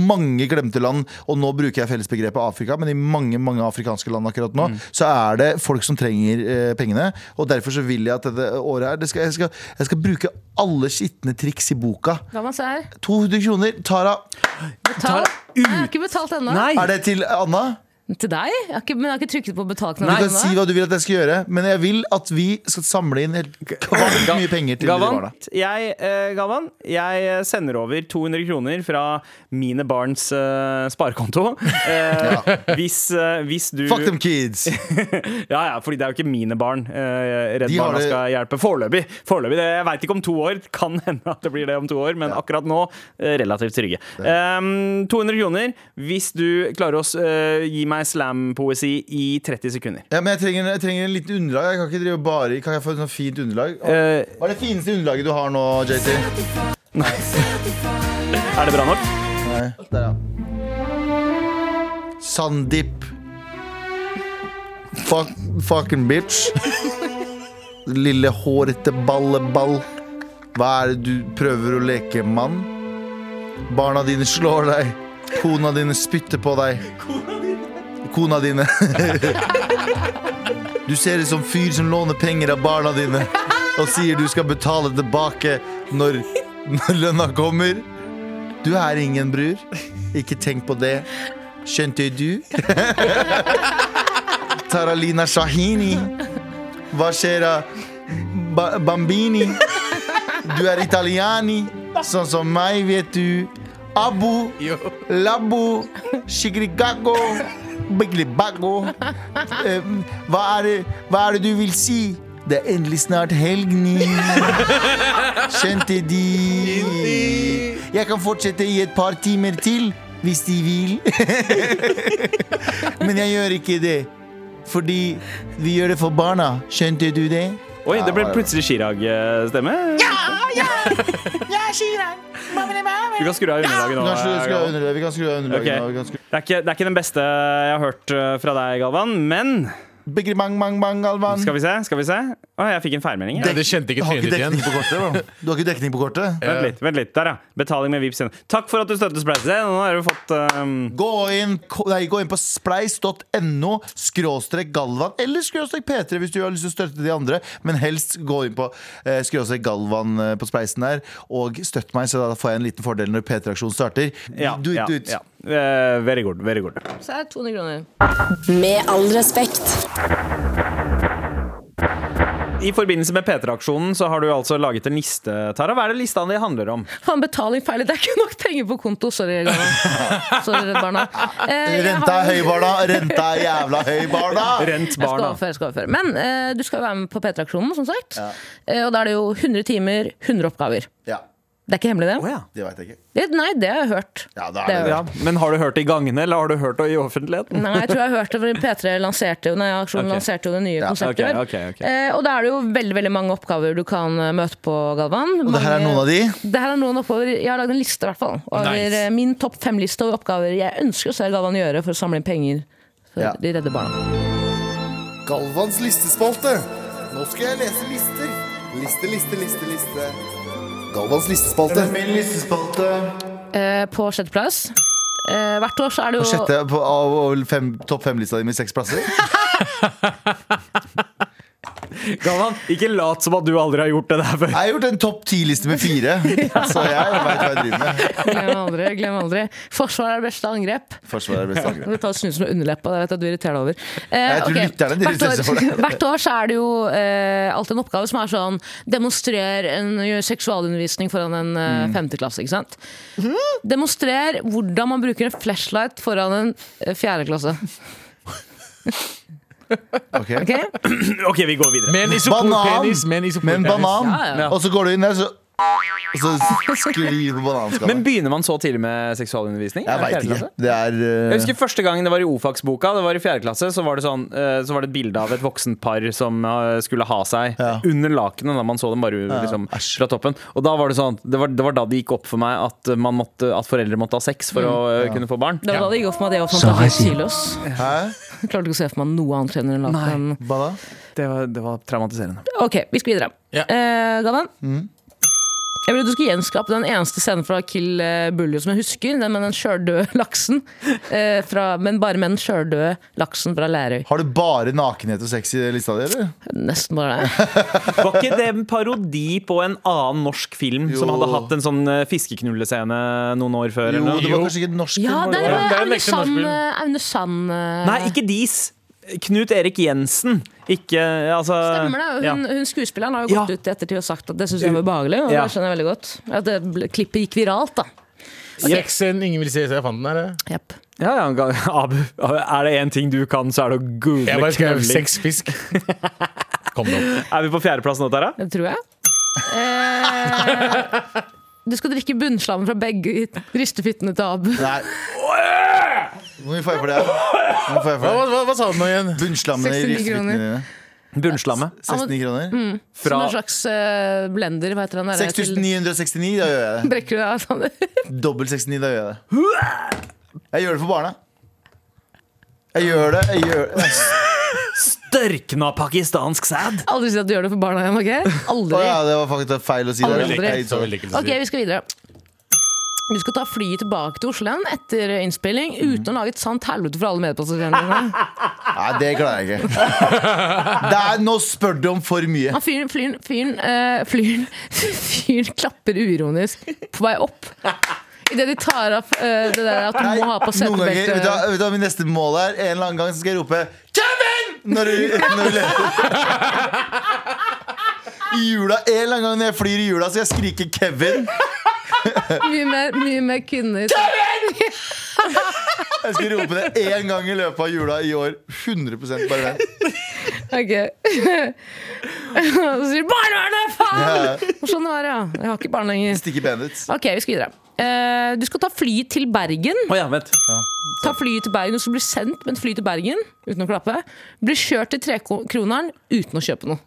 C: mange glemte land, og nå bruker jeg fellesbegrepet Afrika, men i mange mange afrikanske land akkurat nå, så er det folk som trenger eh, pengene. Og derfor så vil jeg at dette året her det skal, jeg, skal, jeg skal bruke alle skitne triks i boka.
A: La meg se her.
C: 200 kroner. Tara,
A: Betal. Nei, Jeg har ikke betalt ennå.
B: Nei!
C: er det til Anna?
A: Til deg? Jeg har ikke, men jeg har ikke trykket på
C: Du
A: betalknappen
C: kan si hva du vil at jeg skal gjøre, men jeg vil at vi skal samle inn helt kvart mye penger til
B: Gavan,
C: barna.
B: jeg, eh, Gavan, jeg eh, sender over 200 kroner fra mine barns eh, sparekonto. Eh, hvis, eh, hvis du
C: Fuck them kids!
B: Ja, ja, fordi det er jo ikke mine barn eh, Redd
C: De har
B: Barna
C: det-
B: skal hjelpe. Foreløpig. Foreløpig. Det- Jeg veit ikke om to år. Kan hende at det blir det om to år, men akkurat nå eh, relativt trygge. Ehm, 200 kroner hvis du klarer å s- eh, gi meg slampoesi i 30 sekunder.
C: Ja, men jeg trenger, jeg trenger en liten underlag. Jeg kan ikke drive bare i- Kan jeg få et sånt fint underlag?
B: Eh,
C: Hva er det fineste underlaget du har nå, JT?
B: er det bra nok?
C: Nei, der ja Sandeep Fuck, Fucking bitch Lille hårete balleball Hva er det du prøver å leke, mann? Barna dine slår deg Kona dine spytter på deg Kona dine Du ser ut som fyr som låner penger av barna dine Og sier du skal betale tilbake Når, når lønna kommer Du er ingen bror. Ikke tenk på det. Skjønte du? Taralina Shahini. Hva skjer da? Ba Bambini. Du er italiani. Sånn som meg, vet du. Abu.
D: Jo.
C: Labo, Shigrigago, Biglibago. Eh, Hva er, det, hva er det du vil si? Det er endelig snart helg, ni. Skjønte de. Jeg kan fortsette i et par timer til, hvis de vil. Men jeg gjør ikke det. Fordi vi gjør det for barna. Skjønte du det?
B: Oi, det ble plutselig Chirag-stemme. Du kan skru av underlaget nå.
C: Vi kan skru- skru av
B: Galvan.
C: underlaget. Vi kan skru av underlaget
B: Ok.
C: nå, vi kan skru-
B: Det, er ikke, det er ikke den beste jeg har hørt eh, fra deg, Galvan, men
C: Bigri bang, bang, bang, Galvan.
B: skal vi se? skal vi se Å, jeg fikk en feilmelding. jeg.
D: Det kjente ikke
C: Du har
D: trynet
C: ikke
D: ditt igjen.
C: dekning på kortet, bro. Du har ikke dekning på kortet?
B: Vent litt. vent litt, der ja Betaling med Vipps. Takk for at du støtter Spleise. Nå har du fått eh,
C: Gå inn, ko- nei, gå inn på spleis.no skråstrek Galvan eller skråstrek P3 hvis du har lyst til å støtte de andre. Men helst gå inn på eh, skråstrek Galvan eh, på spleisen der og støtt meg, så da får jeg en liten fordel når P3-aksjonen starter.
B: ja,
C: do it,
B: ja,
C: do it.
B: ja. Eh, Very good. Very good.
A: Så er det 200 kroner.
E: Med all respekt.
B: I forbindelse med P3-aksjonen så har du altså laget en liste, Tara. Hva er det lista di handler om?
A: Faen, betaling feil. Det er ikke nok penger på konto. Sorry, Galvan. Sorry, barna. Eh, jeg
C: Renta
A: har-
C: er høy, barna! Renta er jævla høy, barna!
B: Rent
A: Ah, Jeg skal
B: barna.
A: overføre, jeg skal overføre. Men eh, du skal jo være med på P3-aksjonen, som sagt. Eh, og da er det jo 100 timer, 100 oppgaver.
C: Ja,
A: Det er ikke hemmelig, det?
B: Å, ja.
C: det veit jeg ikke.
A: Det- Nei, det har jeg hørt.
C: Ja, da
A: Det
C: er
A: er
C: det
B: Ja, men har du hørt det i gangene, eller har du hørt det i offentligheten?
A: Nei, jeg tror jeg har hørt det, for P3 lanserte jo, nei, aksjonen
B: Ok.
A: lanserte jo det nye
C: Ja,
A: konseptet.
B: ok, ok, ok.
A: Eh, og da er det jo veldig veldig mange oppgaver du kan eh, møte på, Galvan.
C: Og det her er
A: Mange-
C: noen av de.
A: Det her er noen oppgaver, Jeg har lagd en liste i hvert fall over
D: Nice.
A: eh, min topp fem-liste over oppgaver jeg ønsker å se Galvan gjøre for å samle inn penger for
C: Ja.
A: de redde barna.
C: Galvans listespalte. Nå skal jeg lese lister. Liste, liste, liste, liste. Galvans listespalte. Min listespalte.
A: Eh, på sjetteplass eh, Hvert år så er det
C: På
A: jo
C: sjette på, av av fem, topp fem-lista di med seks plasser?
B: Galvan, ikke lat som at du aldri har gjort det der før.
C: Jeg har gjort en topp ti-liste med fire, så jeg veit hva jeg driver med.
A: Glem aldri. glem aldri Forsvar er det beste angrep.
C: Forsvaret er best angrep.
A: Vi tar snusen med underleppa. Det vet jeg at du irriterer deg over. Eh,
C: Jeg tror
A: ok.
C: lytterne de
A: hvert,
C: irriterer seg over
A: år,
C: det.
A: hvert år så er det jo eh, alltid en oppgave som er sånn Demonstrer en gjør seksualundervisning foran en eh,
C: Mm.
A: femteklasse. Ikke sant?
C: Mhm.
A: Demonstrer hvordan man bruker en flashlight foran en eh, fjerdeklasse.
C: Ok.
A: Ok?
B: OK, vi går videre.
D: Med en isoporpenis. Med en
C: Banan! Med en
D: isoporpenis.
C: banan.
A: Ja, ja.
C: Og så går du inn der, så, og så sklir du på bananskala.
B: Men begynner man så tidlig med seksualundervisning? Er
C: Jeg
B: det
C: veit
B: fjerde
C: ikke.
B: klasse?
C: Det er eh,
B: Jeg husker første gangen det var i O-fagsboka, det var i fjerde klasse, så var det, sånn, eh, så var det et bilde av et voksent par som eh, skulle ha seg
C: Ja.
B: under lakenet, da man så dem bare liksom, fra toppen. Og da var det sånn, det var, det var da det gikk opp for meg at, man måtte, at foreldre måtte ha sex for å eh, kunne få barn.
A: Det var da det gikk opp for meg at jeg var fantastisk kilos.
C: Hæ?
A: Jeg klarte ikke å se for meg noe annet enn en laken.
C: Banan?
B: Det var, det var traumatiserende.
A: Ok, vi skal videre.
D: Ja.
A: Eh, Galvan?
B: Mm.
A: Jeg vil at du skal gjenskape den eneste scenen fra Kill eh, Buljo som jeg husker. Den med den sjøldøde laksen. eh, fra, men bare med den sjøldøde laksen fra Lærøy.
C: Har du bare nakenhet og sex i lista di, eller?
A: Nesten bare det.
B: Var ikke det en parodi på en annen norsk film som
C: Jo.
B: hadde hatt en sånn eh, fiskeknullescene noen år før?
C: Jo,
B: Eller noe?
C: det var kanskje ikke norsk.
A: Ja,
C: film,
A: det er
C: var det?
D: det er en ekte
A: Aune
D: norsk
A: Sand.
D: film.
A: eh, Aune Sand eh,
B: Nei, ikke dis. Knut Erik Jensen. Ikke altså,
A: Stemmer det.
B: ja.
A: Hun, hun skuespilleren har jo gått
B: Ja.
A: ut i ettertid og sagt at det syns hun var behagelig. Og
B: Ja.
A: det skjønner jeg veldig godt. At det ble- klippet gikk viralt, da.
D: Sexen ingen vil se, så jeg fant den her. jeg.
A: Jepp.
B: Ja, ja, ga- Abu, er det én ting du kan, så er det å
D: Jeg
B: google
D: bare skrev
B: knulling.
D: sexfisk. Kom da opp.
B: Er vi på fjerdeplass nå, Tara?
A: Det tror jeg. Eh, du skal drikke bunnslammen fra begge ristefittene til Abu.
C: Nei. Hvor mye får jeg for det? Hvor mye får jeg
D: Hva,
C: for det?
D: hva, hva sa du nå igjen?
C: Bunnslammene i
A: 69
C: riftene
A: kroner. Mm,
C: dine.
B: Bunnslamme.
C: 69 kroner?
A: Som
B: Fra
A: en slags eh, blender, hva heter den der?
C: 6969, da gjør jeg det.
A: Til- Brekker du deg av sånn?
C: Dobbelt 69, da gjør jeg det. Jeg gjør det for barna. Jeg gjør det. Jeg gjør det.
B: størkna pakistansk sæd!
A: Aldri si at du gjør det for barna igjen, ok?
C: Å
A: Aldri.
C: ja, det var faktisk feil å si det.
A: Aldri.
C: Jeg
D: Så
C: så
D: veldig ekkelt å si.
A: Ok, vi skal videre. Du skal ta flyet tilbake til Oslo igjen etter innspilling
C: Mhm.
A: uten å lage et sant helvete for alle medpassasjerene dine.
C: Nei, det klarer jeg ikke. Det er, nå spør du om for mye.
A: Han fyren, fyren, fyren, eh, fyren, fyren klapper uironisk på vei opp. Idet de tar opp eh, det der at du må ha på
C: noen ganger, vet du, hva-
A: setebelte.
C: vet du hva min neste mål er? En eller annen gang så skal jeg rope Kevin! Når du, når du leter. I jula, En eller annen gang når jeg flyr i jula, så skal jeg skrike Kevin.
A: Mye mer, mye mer kvinner.
C: Jeg skal rope det én gang i løpet av jula i år. 100 bare vent.
A: Ok. Og så sier du 'barnevernet, faen!'
C: Ja.
A: Sånn var det, ja. Jeg har ikke barn lenger.
C: Sticky Bandits.
A: Ok, vi skal videre. Eh, du skal ta fly til Bergen.
B: Å ja, vent.
A: Ta flyet til Bergen, Du skal bli sendt med et fly til Bergen uten å klappe. Bli kjørt til Trekroneren uten å kjøpe noe.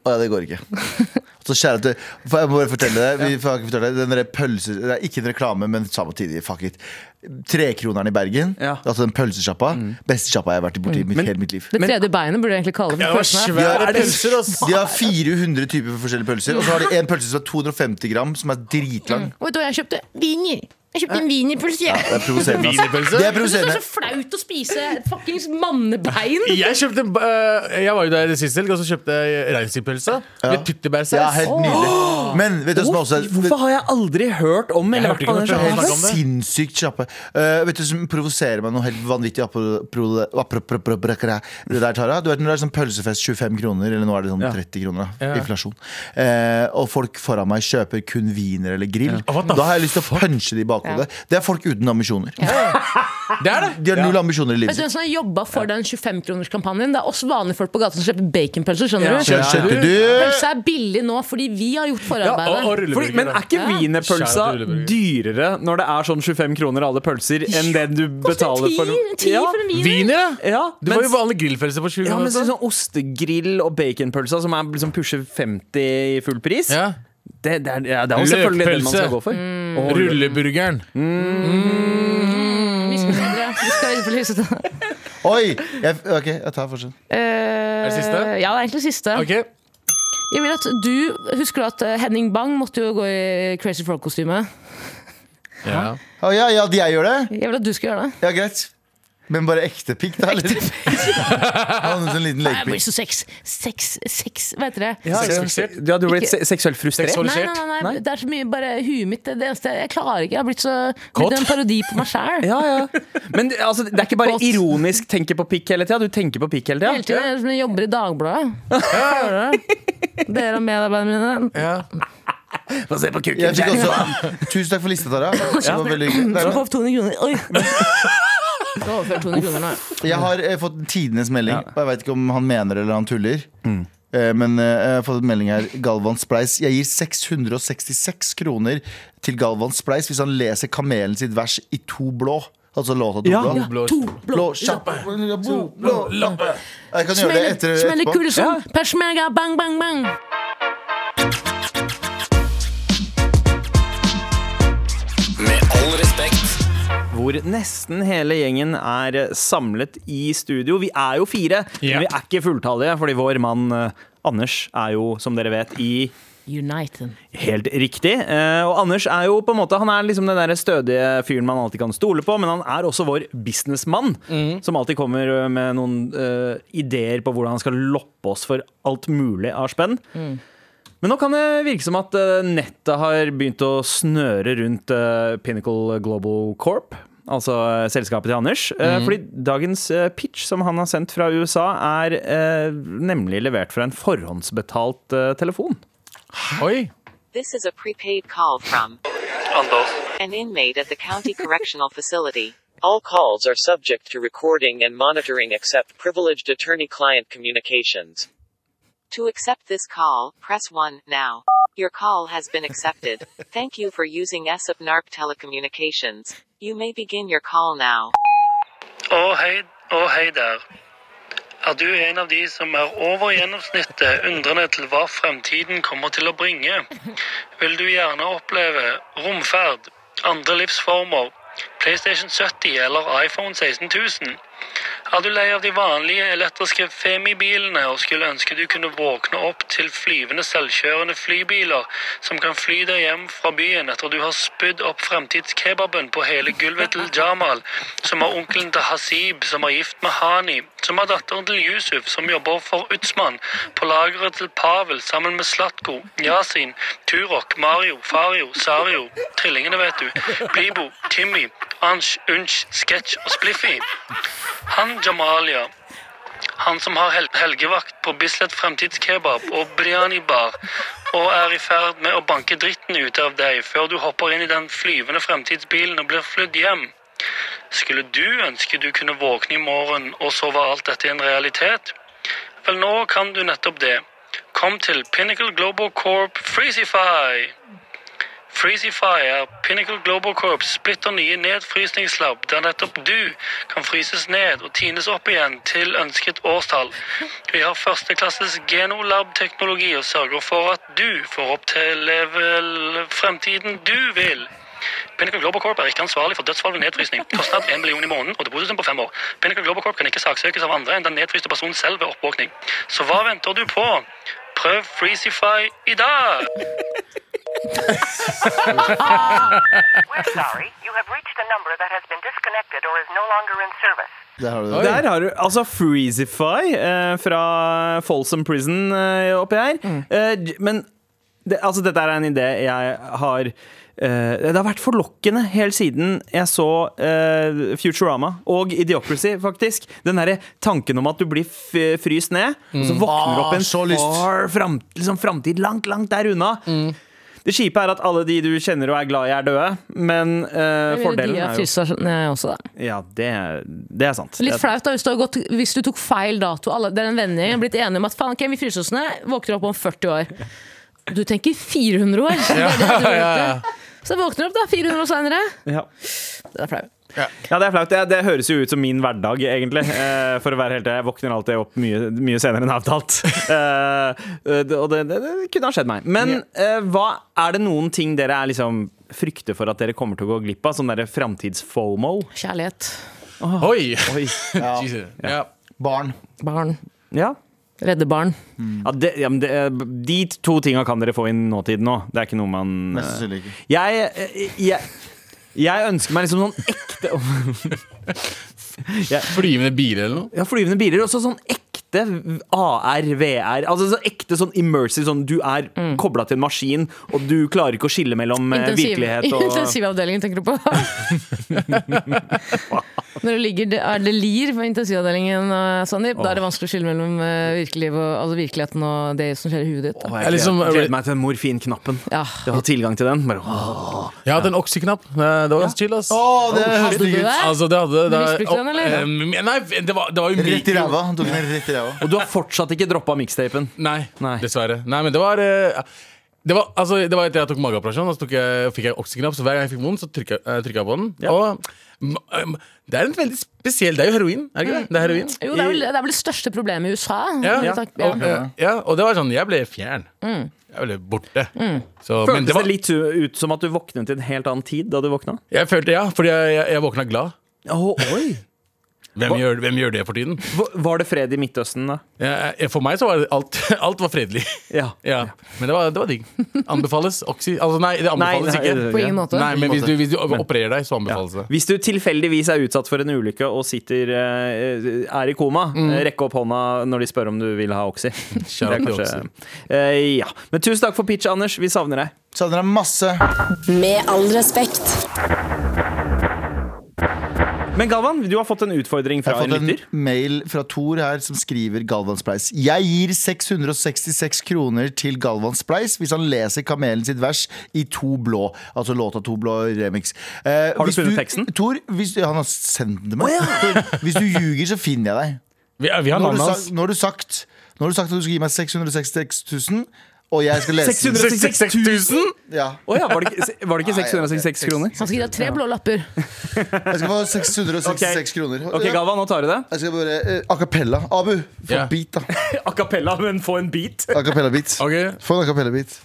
C: Å ja, det går ikke. Så kjære til for Jeg må bare fortelle deg Vi får ikke fortelle deg Den der pølse Det er ikke en reklame, men samtidig, fuck it. Trekroneren i Bergen,
B: Ja.
C: altså den pølsesjappa. Beste sjappa jeg har vært i borti i mitt- hele mitt liv.
A: Mm. Det tredje beinet burde du egentlig kalle det. for pølsene.
C: svære
B: pølser, ass.
C: De har 400 typer forskjellige pølser, og så har de en pølse som er 250 gram, som er dritlang.
A: Og vet du hva jeg kjøpte? Wiener. Jeg kjøpte en wienerpølse. jeg.
C: Det er provoserende. ass.
D: Wienerpølse?
C: Det er
A: Jeg synes Det
C: provoserende.
A: er så flaut å spise fuckings mannebein.
D: Jeg kjøpte eh, Jeg var jo der sist helg, og så kjøpte jeg reinsdyrpølse med
C: Ja,
D: tyttebærsaus.
C: helt nydelig. Men vet du hva som også er
B: Hvorfor har jeg aldri hørt om
D: Jeg
B: eller vært
D: hørte ikke
B: på
D: noe
B: den
D: fra-
B: sjappa?
D: snakke
C: Helt
D: om det?
C: sinnssykt kjappe. Eh, vet du som provoserer meg noe helt vanvittig? apro- apro- apropropropropra- Det der, Tara. Du vet når det er sånn pølsefest 25 kroner, eller nå er det sånn
B: Ja.
C: 30 kroner. da.
D: Ja.
C: Inflasjon. Eh, og folk foran meg kjøper kun wiener eller grill.
D: What the
C: Da har jeg lyst til å punche de i bakhodet. Det er folk uten ambisjoner.
D: Det er det!
C: De har null ambisjoner i livet
A: Vet du
C: sitt.
A: hvem som har jobba for den 25-kronerskampanjen? Det er oss vanlige folk på gata som kjøper baconpølser. skjønner du?
B: skjønner.
C: Skjønte du?
A: Pølse er billig nå fordi vi har gjort
D: Ja, og, og
A: forarbeidet.
D: rulleburger.
B: Fordi, men er ikke
A: Ja.
B: wienerpølsa
D: Kjære til rulleburger.
B: dyrere når det er sånn 25 kroner alle pølser, enn det du
A: Koster
B: betaler
A: ti
B: for
A: ti
B: Ja.
A: for en wiener.
D: Wiener, ja!
B: Ja,
D: Det var jo
B: mens-
D: vanlig grillpølse på 20
B: ja, men
D: kroner. altså.
B: sånn sånn ostegrill og baconpølsa som er liksom pusher 50 i full pris,
D: Ja. Mm.
B: det, det, er, ja, det er jo selvfølgelig det man skal
D: Løkpølse.
B: gå for. Og
D: Rulleburgeren.
A: Misfornøyde. Vi skal i hvert fall hilse til-
C: Oi! Jeg, ok, jeg tar fortsatt.
A: Eh,
D: det siste?
A: Ja, det er egentlig det siste.
D: Ok,
A: Jeg vil at du, Husker du at eh, Henning Bang måtte jo gå i Crazy Frog-kostyme?
D: ja.
C: Å ja, ja, de jeg gjør det?
A: Jeg vil at du skal gjøre det.
C: Ja, greit. Men bare ekte pikk, da? Eller? Han hadde en sånn liten
A: Jeg blir
C: lekepikk.
A: så sex, sex, sex, hva heter det?
B: Ja,
D: Sexfiksert.
B: ja, du har blitt se seksuelt frustrert.
D: Seksualisert.
A: Nei, nei, nei, nei,
B: Nei?
A: det er så mye bare huet mitt. Det, det eneste jeg klarer ikke. Jeg har blitt så
D: Kåt?
A: blitt en parodi på meg sjæl.
B: Ja, ja. Men altså, det er ikke bare
A: Godt.
B: ironisk tenke på pikk hele tida. Du tenker på pikk hele
A: Hele tiden
B: tida.
A: jeg liksom jobber i Dagbladet. Hører du? Dere og medarbeiderne mine.
D: ja.
B: Få se på kukken.
C: Jeg fikk
B: Jenny.
C: også, tusen takk for lista, Tara. Det var veldig hyggelig. Nei,
A: Jeg
C: men-
A: får opp 200 kroner. Oi! Jeg har overført 200 kroner nå.
C: Jeg har eh, fått tidenes melding, og jeg veit ikke om han mener det eller han tuller. Eh, men eh, jeg har fått en melding her. Galvan Spleis. Jeg gir 666 kroner til Galvan Spleis hvis han leser Kamelen sitt vers i to blå. Altså låta to
B: Ja,
C: blå.
B: ja.
D: Blå-
A: To blå
C: Blå kjappe. Blå, blå, lappe. Jeg kan gjøre det
A: smeller,
C: etter
A: smeller
C: etterpå.
A: kule som persmega, bang, bang, bang.
F: Med all respekt.
B: Hvor nesten hele gjengen er eh, samlet i studio. Vi er jo fire,
D: Ja.
B: men vi er ikke fulltallige, fordi vår mann eh, Anders er jo, som dere vet, i
A: United.
B: Helt riktig. Eh, og Anders er jo på en måte Han er liksom den der stødige fyren man alltid kan stole på, men han er også vår businessmann, som alltid kommer eh, med noen eh, ideer på hvordan han skal loppe oss for alt mulig av spenn. Men nå kan det virke som at eh, nettet har begynt å snøre rundt eh, Pinnacle Global Corp. Altså eh, selskapet til Anders. Eh, Fordi dagens eh, pitch som han har sendt fra USA, er eh, nemlig levert fra en forhåndsbetalt eh, telefon.
D: Oi.
G: This is a prepaid call from an inmate at the county correctional facility.
H: All calls are subject to recording and monitoring except privileged attorney client communications.
G: To accept this call, press 1 now. Your call has been accepted. Thank you for using ESOP NARP Telecommunications. You may begin your call now.
I: Å hei, å hei der. Er du en av de som er over gjennomsnittet undrende til hva fremtiden kommer til å bringe? Vil du gjerne oppleve romferd, andre livsformer, PlayStation 70 eller iPhone 16000? Er du lei av de vanlige elektriske femibilene og skulle ønske du kunne våkne opp til flyvende selvkjørende flybiler som kan fly deg hjem fra byen etter du har spydd opp fremtidskebaben på hele gulvet til Jamal, som er onkelen til Hasib, som er gift med Hani, som er datteren til Yusuf, som jobber for Utsman, på lageret til Pavel sammen med Slatko, Yasin, Turok, Mario, Fario, Sario, trillingene vet du, Blibo, Timmy, Ansh, Unch, Sketch og Spliffy. Han Jamalia, han som har hel helgevakt på Bislett Fremtidskebab og Briani Bar, og er i ferd med å banke dritten ut av deg før du hopper inn i den flyvende fremtidsbilen og blir flydd hjem. Skulle du ønske du kunne våkne i morgen, og så var alt dette en realitet? Vel, nå kan du nettopp det. Kom til Pinnacle Global Corp Freezify! Freezify er Pinnacle Global Corps splitter nye nedfrysningslab der nettopp du kan fryses ned og tines opp igjen til ønsket årstall. Vi har førsteklasses genolab-teknologi og sørger for at du får oppleve fremtiden du vil. Pinnacle Global Corp er ikke ansvarlig for dødsfall ved nedfrysning. Kostnad 1 million i måneden og depositum på fem år. Pinnacle Global Corp kan ikke saksøkes av andre enn den nedfryste personen selv ved oppvåkning. Så hva venter du på? Prøv Freezify i dag!
J: We're sorry. You have reached a number that has been disconnected or is no longer in service.
C: Der har du det.
B: Der har du altså Freezify eh, fra Folsom Prison eh, oppi her. Eh, j- men det, altså, dette er en idé jeg har eh, Det har vært forlokkende helt siden jeg så eh, Futurama og Idiocracy, faktisk. Den derre tanken om at du blir f fryst ned, og så våkner du opp i
C: Ah, så
B: en
C: lyst.
B: far fram, liksom framtid langt, langt der unna. Det kjipe er at alle de du kjenner og er glad i, er døde, men eh, fordelen
A: de
B: er jo
A: frysa ned også, da.
B: Ja, det, er- det er sant.
A: Litt
B: Det-
A: flaut da, hvis du, har gått, hvis du tok feil dato. Alle, det er en vennegjeng har blitt enige om at faen, ok, vi fryser oss ned, våkner opp om 40 år. Du tenker 400 år! Det er det du
D: ja, ja.
A: venter. Så våkner du opp da, 400 år senere.
B: ja.
A: Det er flaut.
B: Ja, det er flaut. Det, det høres jo ut som min hverdag, egentlig. Eh, for å være helt ærlig, Jeg våkner alltid opp mye, mye senere enn avtalt. Eh, det- og det, det, det kunne ha skjedd meg. Men eh, hva er det noen ting dere er liksom frykter for at dere kommer til å gå glipp av? Sånn derre framtids-fomo?
A: Kjærlighet.
D: Oi!
C: Ja.
D: Jesus. Ja.
C: Barn.
A: Barn.
B: Ja.
A: Redde barn.
B: Ja, det, ja, men det, eh, de to tinga kan dere få inn nåtiden nå. Det er ikke noe man
C: Mest sannsynlig ikke.
B: Jeg, eh, jeg, jeg ønsker meg liksom sånn ekte
D: Flyvende biler eller noe?
B: Ja, flyvende biler. Også sånn ekte AR, VR. Altså så ekte sånn immersive. Sånn du er koblet
A: Mm.
B: kobla til en maskin, og du klarer ikke å skille mellom eh,
A: Intensiv,
B: virkelighet og
A: intensivavdelingen tenker du på. Når det ligger det er det lir på intensivavdelingen, eh, Sandeep, da er det vanskelig å skille mellom eh, virkeliv og, altså virkeligheten og det som skjer i huet ditt. Da.
B: Å,
D: Jeg
B: Jeg
D: liksom-
B: gleder- gleder meg til den morfinknappen.
A: Ja.
B: Du har tilgang til den. Bare, åh.
D: Jeg hadde en oxyknapp. Eh, Det var ganske chill, ass.
C: Å, det høres
A: Hadde du
C: digg ut.
A: det?
D: Altså, det hadde det,
A: misbrukte den, eller?
D: Em, nei, det var, det var jo
C: Rett i
D: mye-
C: ræva. Han tok den rett i ræva.
B: Og du har fortsatt ikke droppa mikstapen.
D: Nei,
B: Nei.
D: dessverre. Nei, men det var eh, det var, altså, det var etter jeg tok mageoperasjon, og så tok jeg, fikk jeg okseknapp. Så hver gang jeg fikk vondt, så trykka eh, trykka jeg på den. Og mm, em, det er en veldig spesiell Det er jo heroin, er det ikke det? Det er heroin.
A: Mm. Jo, det er, vel, det er vel det største problemet i USA.
D: Ja,
A: Takk-
D: ja.
A: ja. Mm.
D: Og, eh, ja, og det var sånn Jeg ble fjern. Jeg ble borte. Så, men
B: Føltes
D: det
B: det,
D: var,
B: litt ut som at du våknet i en helt annen tid da du våkna?
D: jeg følte ja, fordi jeg, jeg, jeg våkna glad.
B: Åh, oi.
D: Hvem gjør, hvem gjør det for tiden?
B: Hva- Var det fred i Midtøsten, da?
D: Jeg, jeg, eh, for meg så var det alt, alt var fredelig.
B: Ja.
D: Ja, Men det var, det var digg. Anbefales oxy... Altså, nei, det anbefales ikke.
A: På ingen måte.
D: Nei, men hvis du, hvis du
B: Men-
D: opererer deg, så anbefales
B: Ja.
D: det.
B: Hvis du tilfeldigvis er utsatt for en ulykke og sitter, eh, er i koma, eh, rekke opp hånda når de spør om du vil ha Oxy. Det er
D: Shout out til
B: eh, ja. Men tusen takk for pitch, Anders. Vi savner deg.
C: Savner deg masse.
E: Med all respekt.
B: Men Galvan, du har fått en utfordring
C: Jeg
B: fra
C: har
B: en
C: fått en
B: lytter.
C: mail fra Thor her som skriver Galvan Spleis. Jeg gir 666 kroner til Galvan Spleis hvis han leser Kamelen sitt vers i To blå. Altså låta To blå remix. Eh,
B: du
C: hvis
B: funnet teksten?
C: Thor, hvis, ja, han har sendt den til meg. Thor, hvis du ljuger, så finner jeg deg.
D: Vi, vi har
C: Nå har du
D: navnet hans.
C: sagt, nå har du sagt, nå har du sagt at du skal gi meg 666 000, og jeg skal lese den.
B: 666 000?
C: Ja.
B: Å ja, var det, ikke- var det ikke 666 kroner?
A: Han skal gi deg tre blå lapper.
C: Jeg skal få 666
B: Ok.
C: kroner.
B: Ok, Galvan, nå tar du det.
C: Jeg skal bare eh, A cappella. Abu, få
D: Ja.
C: beat, da.
B: A cappella, men få en beat.
C: A cappella-beat.
D: Ok.
C: Få en a cappella-beat.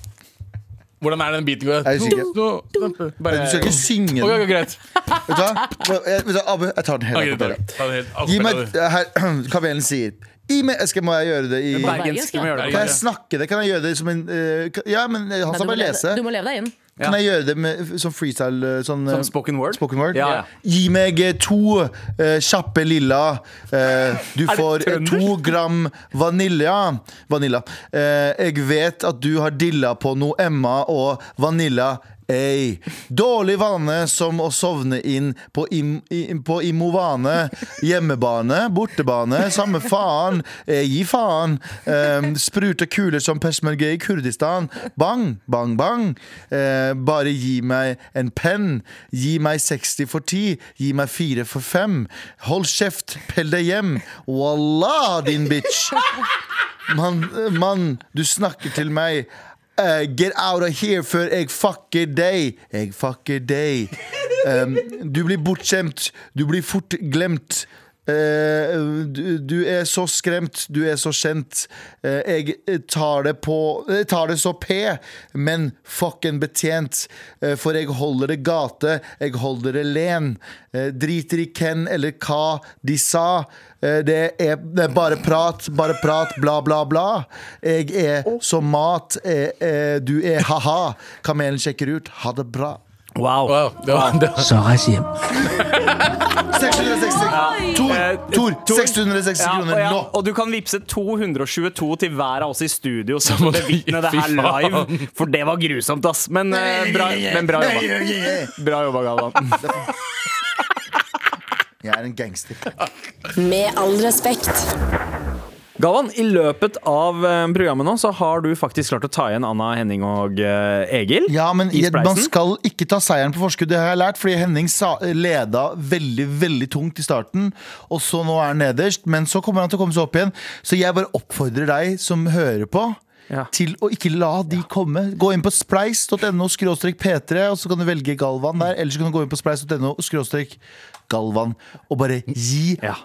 D: Hvordan er den biten?
C: Jeg er usikker.
D: Bare,
C: Du skal ikke synge den.
D: Eh, Ok, ok, greit.
C: Vet du hva? Jeg- vet du hva? Abu, jeg tar den hele.
D: Ok, ta
C: Okay,
D: det. Ta det helt.
C: Gi meg
D: Akkurat.
C: her, Kamelen sier Gi meg jeg skal, Må jeg gjøre det i
A: Bergensk, ja.
B: Bergensk må gjøre det.
C: Kan jeg snakke det? Kan jeg gjøre det som en eh, kan- Ja, men eh, han
A: Nei,
C: skal
A: du, må
C: bare lese.
A: leve, du må leve deg inn.
B: Ja.
C: Kan jeg gjøre det med, som freestyle? eh, Sånn, eh,
B: Som spoken word?
C: spoken word?
B: Ja, ja.
C: Gi meg eh, to eh, kjappe lilla. eh, du får eh,
B: trønder?
C: to gram vanilja. Vanilla. Eh, jeg vet at du har dilla på noe Emma og vanilla. Ey. Dårlig vane som å sovne inn på, im, i, på Imovane. Hjemmebane, bortebane, samme faen. Eh, gi faen. Eh, sprute kuler som persmerge i Kurdistan. Bang, bang, bang. Eh, bare gi meg en penn. Gi meg 60 for 10. Gi meg 4 for 5. Hold kjeft, pell deg hjem. Wallah, din bitch. Mann, mann, du snakker til meg. Eh, get out of here før jeg fucker deg. Jeg fucker deg. Um, du blir bortskjemt. Du blir fort glemt. Eh, du, du er så skremt, du er så kjent. Eh, jeg tar det på Jeg tar det så p, men fucken betjent. Eh, for jeg holder det gate, jeg holder det len. Eh, driter i hvem eller hva de sa. Eh, Det er, det er bare prat, bare prat, bla, bla, bla. Jeg er som mat, eh, eh, du er ha-ha. Kamelen sjekker ut, ha det bra.
B: Wow.
D: Wow, det var, det var.
C: 660. Tor,
B: Eh,
C: Tor,
B: Tor.
C: 660
B: Ja, og,
C: kroner
B: ja,
C: nå.
B: og du kan vippse 222 til hver av oss i studio som må
D: du-
B: bevitne det her
D: Fy
B: live.
D: faen.
B: For det var grusomt, ass. Men, eh, bra, men bra jobba. Bra jobba, Galvan.
C: Jeg er en gangster.
E: Med all respekt.
B: Galvan, i løpet av eh, programmet nå så har du faktisk klart å ta igjen Anna, Henning og eh, Egil.
C: Ja, men
B: i
C: jeg, man
B: spleisen.
C: skal ikke ta seieren på forskudd, det har jeg lært. Fordi Henning sa, leda veldig veldig tungt i starten, og så nå er han nederst. Men så kommer han til å komme seg opp igjen. Så jeg bare oppfordrer deg som hører på.
B: Ja.
C: Til å ikke la de komme. Gå inn på spleis.no skråstrek P3, og så kan du velge Galvan der. Eller så kan du gå inn på spleis.no skråstrek Galvan og bare gi
B: Ja.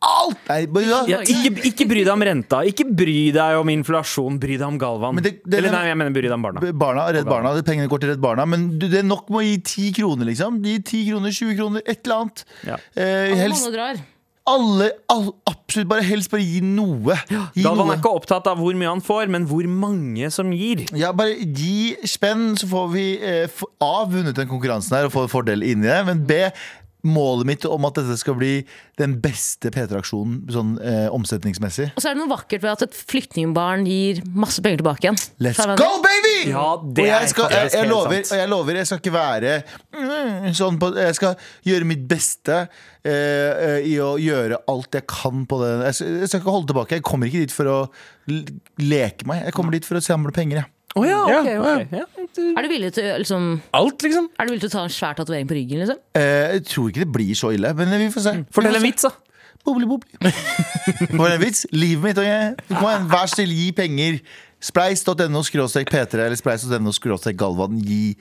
C: alt! Nei, bare,
B: Ja, ikke, ikke bry deg om renta, ikke bry deg om inflasjon, bry deg om Galvan.
C: Men det- det-
B: Eller nei, jeg mener bry deg om barna.
C: Barna, Redd Barna, det pengene går til Redd Barna Men du, det er nok med å gi 10 kroner liksom Gi 10 kroner, 20 kroner, et eller annet
B: Ja.
C: eh,
A: Alle
C: Helst
A: måneder drar.
C: alle, all, Absolutt, bare helst bare gi noe Gi
B: Galvan
C: noe
B: er ikke opptatt av hvor mye han får, men hvor mange som gir.
C: ja, bare gi spenn Så får vi eh, f- A, vunnet den konkurransen her Og får fordel inni det Men B, målet mitt om at dette skal bli Den beste P3-aksjonen Sånn eh, omsetningsmessig
A: Og så er det noe vakkert ved at et flyktningbarn gir masse penger tilbake igjen.
C: Let's
A: Sa han det?
C: go, baby!
B: Ja, det
C: og
B: er
C: jeg, skal, jeg,
B: faktisk
C: jeg,
B: helt
C: lover,
B: sant.
C: og jeg lover, jeg skal ikke være mm, sånn på Jeg skal gjøre mitt beste eh, eh, i å gjøre alt jeg kan på det. Jeg, skal- jeg skal ikke holde tilbake. Jeg kommer ikke dit for å l- leke meg. Jeg kommer dit for å samle penger, jeg.
B: Å ja, ok, ok. Ja.
A: Er du villig til, å- liksom,
D: Alt, liksom.
A: er du villig til å ta en svær tatovering på ryggen? Liksom?
C: Eh, jeg tror ikke det blir så ille, men vi får se.
B: Fortell en vits, da.
C: Bobli, bobli. For en vits. Livet mitt. Og jeg, kom igjen, vær snill, gi penger. Spleis.no skråstrek P3 eller spleis.no skråstrek Galvan. Gi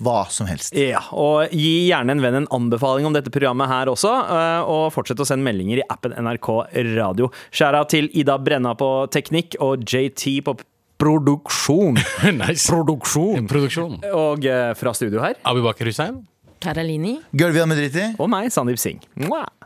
C: hva som helst.
B: Ja, og Gi gjerne en venn en anbefaling om dette programmet her også. eh, Og fortsett å sende meldinger i appen NRK Radio. Skjæra til Ida Brenna på teknikk og JT på produksjon.
D: nice.
B: Produksjon.
D: Produksjon.
B: Og eh, fra studio her
D: Abu Bakar Hussein.
A: Terralini?
C: Gulvet han med dritt i.
B: og meg, Sandeep Singh. Mwah.